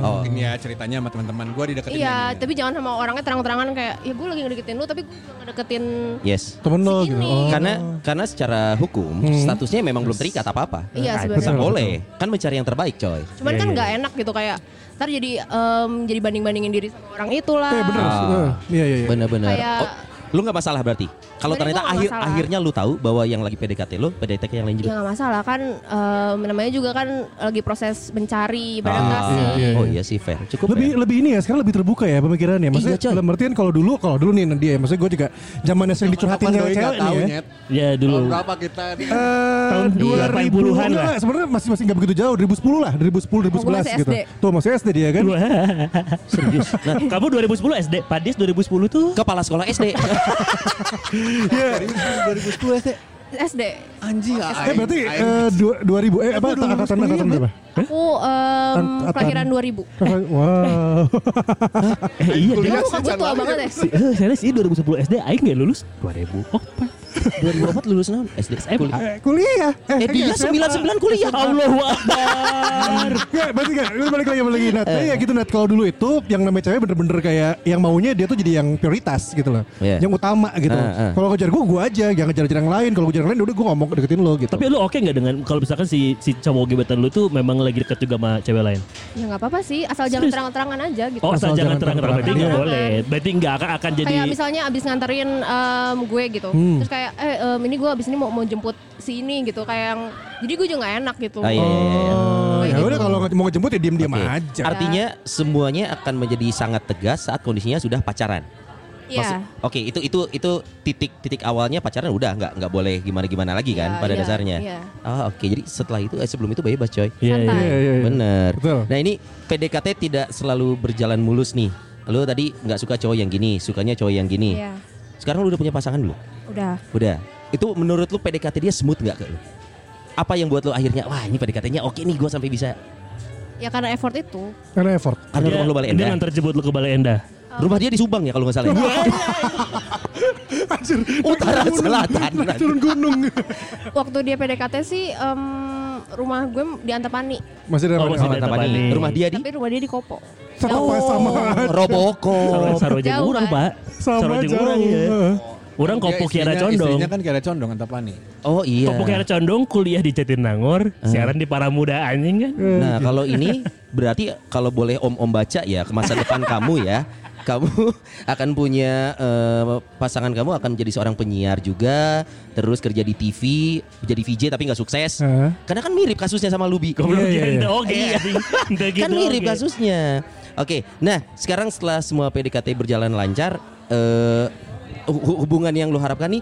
Oh.
Mungkin ya ceritanya sama teman-teman gue dideketin
iya
ini.
tapi jangan sama orangnya terang-terangan kayak ya gue lagi ngedeketin lu tapi gue nggak ngedeketin
Yes.
Temen lo
Si
gitu.
ini.
Oh.
Karena karena secara hukum statusnya memang belum terikat apa-apa.
iya
Nggak
sebenarnya
boleh. Kan mencari yang terbaik, coy.
cuman kan nggak enak gitu kayak ntar jadi em, jadi banding-bandingin diri sama orang itulah
Eh bener.
Ah.
Eh, Iya iya iya.
Bener-bener.
Kayak-
Oh, lu nggak masalah berarti. Kalau
Sebenarnya
ternyata
gua nggak
akhir
masalah.
akhirnya lu tahu bahwa yang lagi PDKT lu, PDKT yang lain juga.
Ya nggak masalah kan em, namanya juga kan lagi proses mencari ibarat nggak
Ah,
sih?
iya,
Oh
iya.
iya sih fair. Cukup
lebih
fair.
lebih ini ya sekarang lebih terbuka ya pemikirannya maksudnya
Iya, coy.
dalam artian kalau dulu kalau dulu nih dia ya maksudnya gue juga zamannya sering dicurhatin
Kapan doi
cewek
nggak
cewek nih
tahu,
ya
Nyet?
Ya
Tahun
dulu.
berapa kita di
Eh,
Tahun
2000-an
80-an lah.
lah. Sebenarnya masih masih nggak begitu jauh 2010 lah, 2010
Oh, gua
2011
masih
gitu.
SD.
Tuh masih SD dia kan.
Serius. Nah, kamu 2010 SD, Padis 2010 tuh
Kepala sekolah SD.
2010 SD.
SD.
Anjing.
Eh berarti eh, dua- 2000 eh apa
Aku 2010
angkatan angkatan berapa?
Aku em,
Angkatan.
kelahiran 2000.
Wow.
Eh iya dia.
Kamu bukan gue tua banget ya?
Si, eh, serius sih 2010 SD aing gak lulus 2000. Oh,
2004 lulus naon? SD
SMA.
kuliah.
Eh, iya, kuliah.
Eh
Iya,
dia
kayaknya
99 kuliah.
Allahu Akbar.
Nggak, eh, berarti nggak. Lu balik lagi balik lagi Nat. Tapi ya gitu Nat kalau dulu itu yang namanya cewek bener-bener kayak yang maunya dia tuh jadi yang prioritas gitu loh.
Iya.
Yang utama gitu.
Ah, ah.
Kalau ngejar gue gue aja, jangan ngejar-ngejar yang lain. Kalau ngejar yang lain udah gue ngomong deketin lo gitu.
Tapi lu oke nggak dengan kalau misalkan si si cowok gebetan lu tuh memang lagi deket juga sama cewek lain?
Ya nggak apa-apa sih, asal jangan
Serius?
terang-terangan aja gitu.
Oh, asal,
Asal
jangan
jangan
terang-terang berarti nggak
terang-terangan.
boleh. Berarti nggak akan akan jadi Iya,
Kayak misalnya abis nganterin em, gue gitu,
Hmm.
terus kayak eh em, ini gue abis ini mau mau jemput si ini gitu, kayak yang jadi gue juga nggak enak gitu.
Ah, iya, iya, iya.
Oh, ya udah kalau nge- mau ngejemput ya diem-diem
Oke.
aja.
Artinya semuanya akan menjadi sangat tegas saat kondisinya sudah pacaran.
Iya.
Maksud- kan, Oke, itu itu itu titik titik awalnya pacaran udah nggak nggak boleh gimana gimana lagi kan
Iya,
pada
iya,
dasarnya.
iya.
Ah, oke. Jadi setelah itu eh, sebelum itu bebas coy.
Iya, iya.
Santai.
iya, iya.
Bener.
Betul.
Nah ini PDKT tidak selalu berjalan mulus nih. Lo tadi nggak suka cowok yang gini, sukanya cowok yang gini.
Iya.
Sekarang lu udah punya pasangan belum?
Udah.
Udah. Itu menurut lu PDKT dia smooth nggak ke lu? Apa yang buat lu akhirnya wah ini PDKT-nya oke nih gue sampai bisa
Ya karena effort itu.
Karena effort.
karena rumah lu Balai
Dia
Endah.
nganter jebut lu ke Balai Endah.
Rumah dia di Subang ya kalau nggak salah. ya?
Anjir,
Utara
naik gunung.
selatan.
Naik turun gunung.
Waktu dia PDKT sih em, rumah gue di Antapani,
Masih ada
Oh, masih ada
apa
tempat nih.
Rumah dia di
tapi rumah dia di Kopo.
Sama sama
Sarwa-
Roboko.
Sarwa jeung
Jauh,
urang,
Pak.
Oh, Pak.
sama
Sarwa jeung
jauh.
urang ya.
Heeh.
Orang kopo kiara condong.
Iya, Istrinya kan kiara condong Antapani.
Oh iya.
Kopo kiara condong kuliah di Jatinangor, siaran di Paramuda anjing kan.
Hmm.
Nah kalau ini berarti kalau boleh om-om baca ya ke masa depan kamu ya kamu akan punya eh, pasangan kamu akan jadi seorang penyiar juga terus kerja di TV jadi VJ tapi nggak sukses
Heeh.
karena kan mirip kasusnya sama Lubi
Goblok
Iya, iya,
ya.
iya.
Oke. anjing. Ente gitu,
kan mirip
oke.
kasusnya oke nah sekarang setelah semua PDKT berjalan lancar eh, hu- hubungan yang lu harapkan nih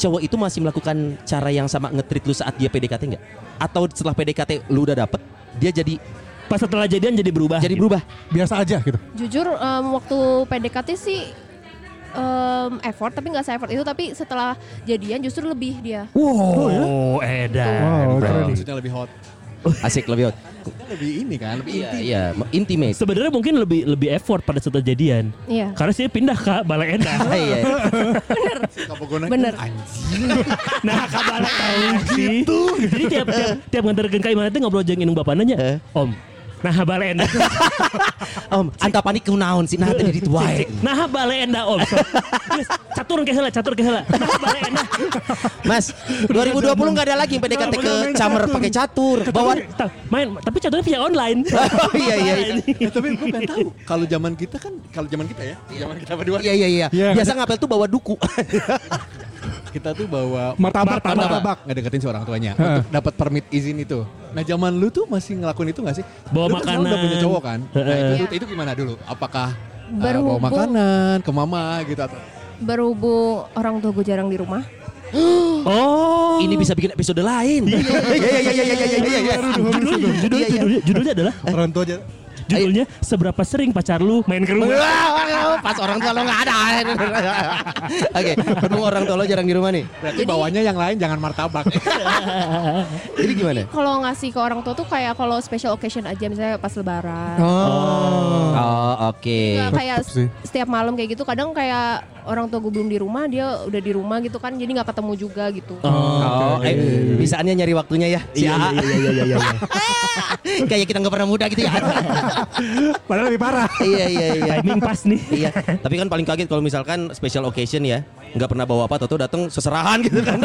cowok itu masih melakukan cara yang sama ngetrit lu saat dia PDKT nggak atau setelah PDKT lu udah dapet dia jadi
Pas setelah jadian jadi berubah.
jadi
gitu.
berubah
Biasa aja gitu.
Jujur em, waktu PDKT sih em, effort tapi nggak se-effort itu tapi setelah jadian justru lebih dia.
Oh, edan.
Wow,
Nah,
keren.
Maksudnya lebih hot.
asik lebih hot.
Maksudnya lebih ini kan, lebih
Iya,
inti.
iya, intimate.
Sebenarnya mungkin lebih lebih effort pada setelah jadian.
Iya.
Karena saya pindah ke Balai Endah.
Ah, iya.
Kapogona
Bener.
Anjing.
Nah kabar gitu Jadi tiap tiap, tiap nganter ke kayak mana tuh ngobrol jengin bapak nanya Om Nah bale enda
Om, anta panik kunaon sih nah tadi dituai.
Nah bale enda om Terus, Catur ke heula catur ke heula Nah bale enda
Mas, 2020 nggak ada lagi yang PDKT ke camer pakai catur. Bawa
Ta- Main Tapi caturnya via online
Oh, iya, iya, iya.
Ya, tapi gue pengen tahu kalau zaman kita kan kalau zaman kita ya, zaman kita berdua
Iya iya iya.
Iya.
Biasa ngapel tuh bawa duku.
kita tuh bawa
Martabak,
Martabak.
martabak.
ngedeketin si orang tuanya untuk dapat permit izin itu. Nah, zaman lu tuh masih ngelakuin itu gak sih?
Bawa
Lu kan sekarang udah
makanan.
punya cowok kan? Nah, itu,
Heeh.
itu- itu gimana dulu? Apakah uh, bawa
Berhubung-
makanan ke mama gitu atau
Berhubung orang tua gue jarang di rumah.
Oh
Ini bisa bikin episode lain. Iya iya iya iya iya iya iya.
Judulnya, judulnya, judulnya, judulnya adalah
Eh.
Orang tua aja.
Judulnya Seberapa sering pacar lu main ke rumah
Pas orang tua lo nggak ada. Oke, ketemu orang tua lo jarang di rumah nih.
berarti bawanya yang lain jangan martabak.
Jadi gimana?
Kalau ngasih ke orang tua tuh kayak kalau special occasion aja misalnya pas lebaran.
Oh.
Oh, oke.
Nggak kayak
Tetep sih.
setiap malam kayak gitu kadang kayak orang tua gue belum di rumah dia udah di rumah gitu kan jadi nggak ketemu juga gitu
Oh,
iya,
eh, bisaannya nyari waktunya ya. Si
Iya
AA.
iya iya iya iya iya.
Kayak kita nggak pernah muda gitu ya.
Padahal lebih parah.
iya iya iya.
Timing pas nih
Iya, tapi kan paling kaget kalau misalkan special occasion ya, nggak pernah bawa apa, atau datang seserahan gitu kan?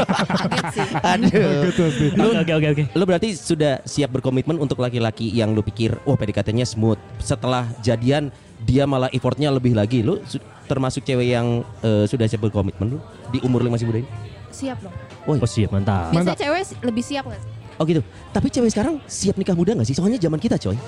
Aduh. Lu,
Oke oke oke
lu berarti sudah siap berkomitmen untuk laki-laki yang lu pikir, wah PDKT-nya smooth. Setelah jadian dia malah effortnya lebih lagi. Lu su- termasuk cewek yang eh, sudah siap berkomitmen lu di umur lu yang masih muda ini?
siap dong
Oh siap mantap
biasanya cewek si- lebih siap nggak sih?
Oh gitu. Tapi cewek sekarang siap nikah muda nggak sih? Soalnya zaman kita coy.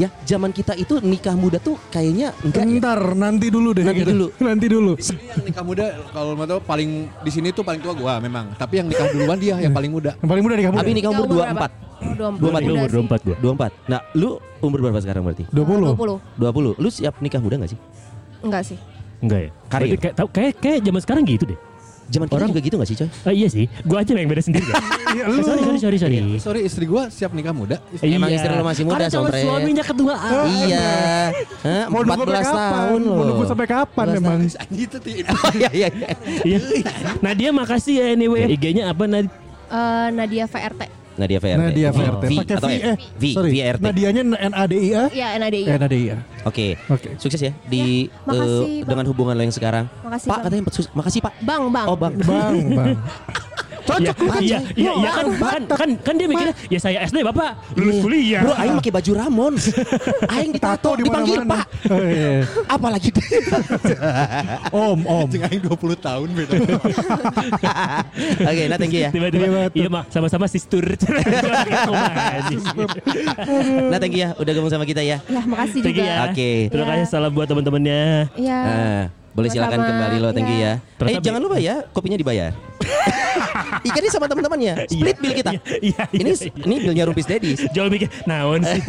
Ya, zaman kita itu nikah muda tuh kayaknya enggak ya?
Bentar, nanti dulu deh.
Nanti
gitu.
dulu.
Nanti dulu.
Jadi yang nikah muda kalau mau tahu paling di sini tuh paling tua gua memang, tapi yang nikah duluan dia yang paling muda.
Yang paling muda nih kamu.
Abi nikah umur
berapa?
24.
Oh,
24,
24
Umur
udah
24
sih.
gue
24. Nah, lu umur berapa sekarang berarti?
20.
20.
20
Lu siap nikah muda gak sih?
enggak sih
Enggak ya
Karir.
Berarti kayak, tau- kayak, kayak zaman sekarang gitu deh
Zaman kita
Orang-
juga gitu gak sih coy?
Oh, iya sih, gua aja yang beda sendiri. ya.
Iya,
Eh, sorry, sorry, sorry, sorry.
Sorry istri gua siap nikah muda. Istri-
Iya. Emang istri lo masih muda,
Karena calon
Sompret.
suaminya ketuaan.
iya. Hah,
Mau nunggu sampai
14 tahun
kapan?
loh.
Mau nunggu sampai kapan
14
emang?
Gitu Ti.
Oh,
Iya, iya, iya.
Iya. Nadia makasih ya anyway. IG-nya apa Nad?
Eh, Nadia VRT.
Nadia VRT.
Nadia VRT.
Iya, V
Nah, Pakai V,
atau F?
eh.
V, Iya.
Sorry.
VRT.
Nadianya NADIA?
Ya NADI.
Eh, Nadia.
Oke.
Oke.
Sukses ya di
Ya, makasih,
eh,
Bang.
dengan hubungan lo yang sekarang.
Makasih,
Pak
Bang.
katanya sus- makasih Pak.
Bang, bang.
Oh Bang.
Bang, bang.
Iya, iya, iya, iya, kan,
Batak.
kan, kan, kan dia mikirnya ya saya SD bapak lulus kuliah.
Iya. Bro, aing pakai baju Ramon. aing ditato
di
dipanggil
mana-mana.
Pak.
Oh, iya.
Apalagi dia.
Om, om.
Cing aing 20 tahun beda.
Oke, nah thank you ya.
Tiba-tiba, iya mah sama-sama sistur.
Nah thank you ya udah gabung sama kita ya.
Ya makasih
Thank you ya.
juga.
Oke.
Terima
Ya.
kasih salam buat teman-temannya.
Ya.
Nah, boleh silakan
Sama-sama.
kembali lo thank you ya.
Terus
Eh
tapi-
jangan lupa ya kopinya dibayar. Ikannya sama teman-temannya. Split bill kita.
Iya, iya,
Ini
iya, iya.
ini billnya Rupis Dedis.
Jual mikir, naon sih,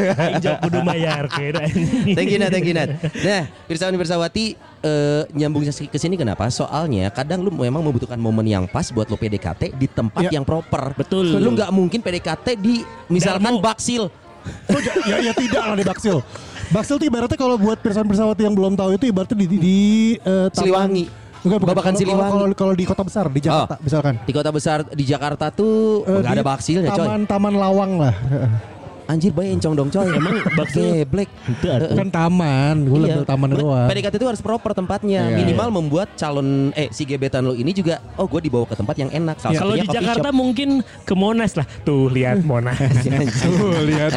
jawab kudu mayar.
Thank you Nat, thank you Nat. Nah, Pirsawan Pirsawati eh, nyambung ke sini kenapa? Soalnya kadang lu memang membutuhkan momen yang pas buat lu PDKT di tempat
Ya.
yang proper.
Betul.
Lu nggak mungkin PDKT di misalkan
Darmo.
baksil.
Oh, ja- ya, ya tidak lah di Baksil. Baksil tuh ibaratnya kalau buat pirsawan pirsawati yang belum tahu itu ibaratnya di, di, di eh, Taman-
Siliwangi.
Bukan, bukan.
Babakan
Kalau-
Siliwangi.
Kalau kalau- kalau di kota besar di Jakarta
Oh.
misalkan.
Di kota besar di Jakarta tuh
Eh,
nggak
di
ada baksilnya coy.
Taman Taman Lawang lah.
Anjir bayi encong dong coy. Emang baksil black.
kan taman, gue
Iya.
lebih taman
Ber-
doang.
PDKT itu harus proper tempatnya.
Iya.
Minimal membuat calon eh si gebetan lo ini juga oh gue dibawa ke tempat yang enak.
Iya.
Ya, Kalau
Salah
di
satunya Iya, coffee
Jakarta
shop. Iya,
mungkin ke Monas lah. Tuh lihat Monas.
Tuh lihat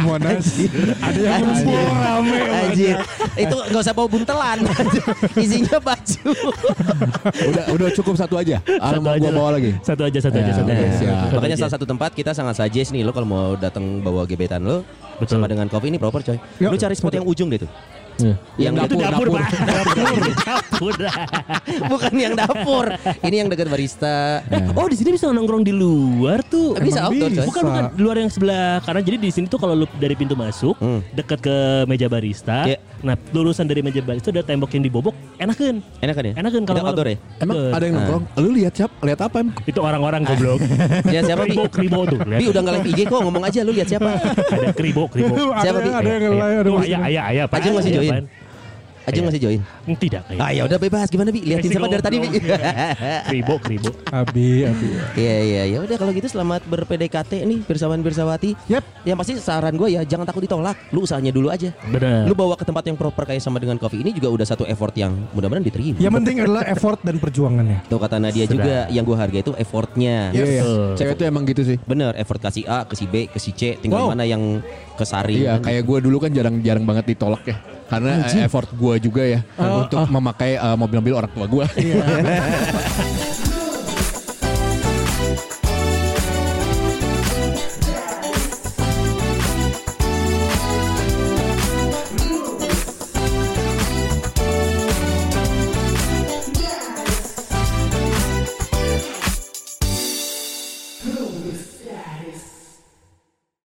Monas ada yang
ngumpul rame,
Anjir. Itu nggak usah bawa buntelan. Isinya baju.
udah udah cukup satu aja. Ah, mau gua
lah.
bawa lagi.
Satu aja, satu aja,
Ya,
satu
Nah,
aja.
siap.
Satu
Iya, makanya
aja.
salah satu tempat kita sangat suggest nih lo kalau mau datang bawa gebetan lo
Betul. Iya.
sama dengan kopi ini proper coy.
Yuk.
Lo cari spot yang ujung deh tuh. Yang
Itu dapur, Pak. Dapur, dapur.
Bukan yang dapur. Ini yang dekat barista.
Oh di sini bisa nongkrong di luar tuh.
Iya. Bisa
Emang
oh, outdoor coy.
bisa.
Bukan bukan di luar yang sebelah kanan. Jadi di sini tuh kalau lu dari pintu masuk
Hmm.
dekat ke meja barista.
Iya.
Nah, lurusan dari meja barista ada tembok yang dibobok. Enakan.
Enak kan ya?
Enakan kalau
Itu
malam.
outdoor ya?
Emang
Betul.
ada yang nongkrong? Lu lihat siap? Lihat apa emang?
itu orang-orang goblok.
Ya, siapa, Bi?
kribo, kribo tuh. lihat.
Bi udah nggak live IG kok ngomong aja lu lihat siapa.
ada kribo, kribo.
Siapa, Bi?
ada, ada yang
Kayak,
lain, ada
tuh,
yang
ayah, ayah, ayah. apaan?
Ajeng masih
Ayah,
join?
apaan?
Ajeng masih join.
Hmm, Tidak kayak.
Ah ya udah bebas gimana Bi? Liatin
Kasih
siapa dari tadi Bi?
ngomong. kribo, kribo.
Abi, Abi.
Iya iya ya udah kalau gitu selamat berPDKT nih pirsawan pirsawati.
Yap.
Yang pasti saran gue ya jangan takut ditolak. Lu usahanya dulu aja.
Benar.
Lu bawa ke tempat yang proper kayak sama dengan kopi ini juga udah satu effort yang mudah-mudahan diterima.
Ya,
Yang penting adalah effort dan perjuangannya.
Tuh kata Nadia
Sedap.
juga yang gue hargai itu effortnya.
Iya, iya.
Betul.
Cewek tuh emang gitu sih.
Bener effort ke si A, ke si B, ke si C, tinggal
Wow.
mana yang kesari.
Iya, kayak gue dulu kan jarang-jarang banget ditolak ya. Karena eh, effort gue juga ya untuk memakai eh, mobil-mobil orang tua gue.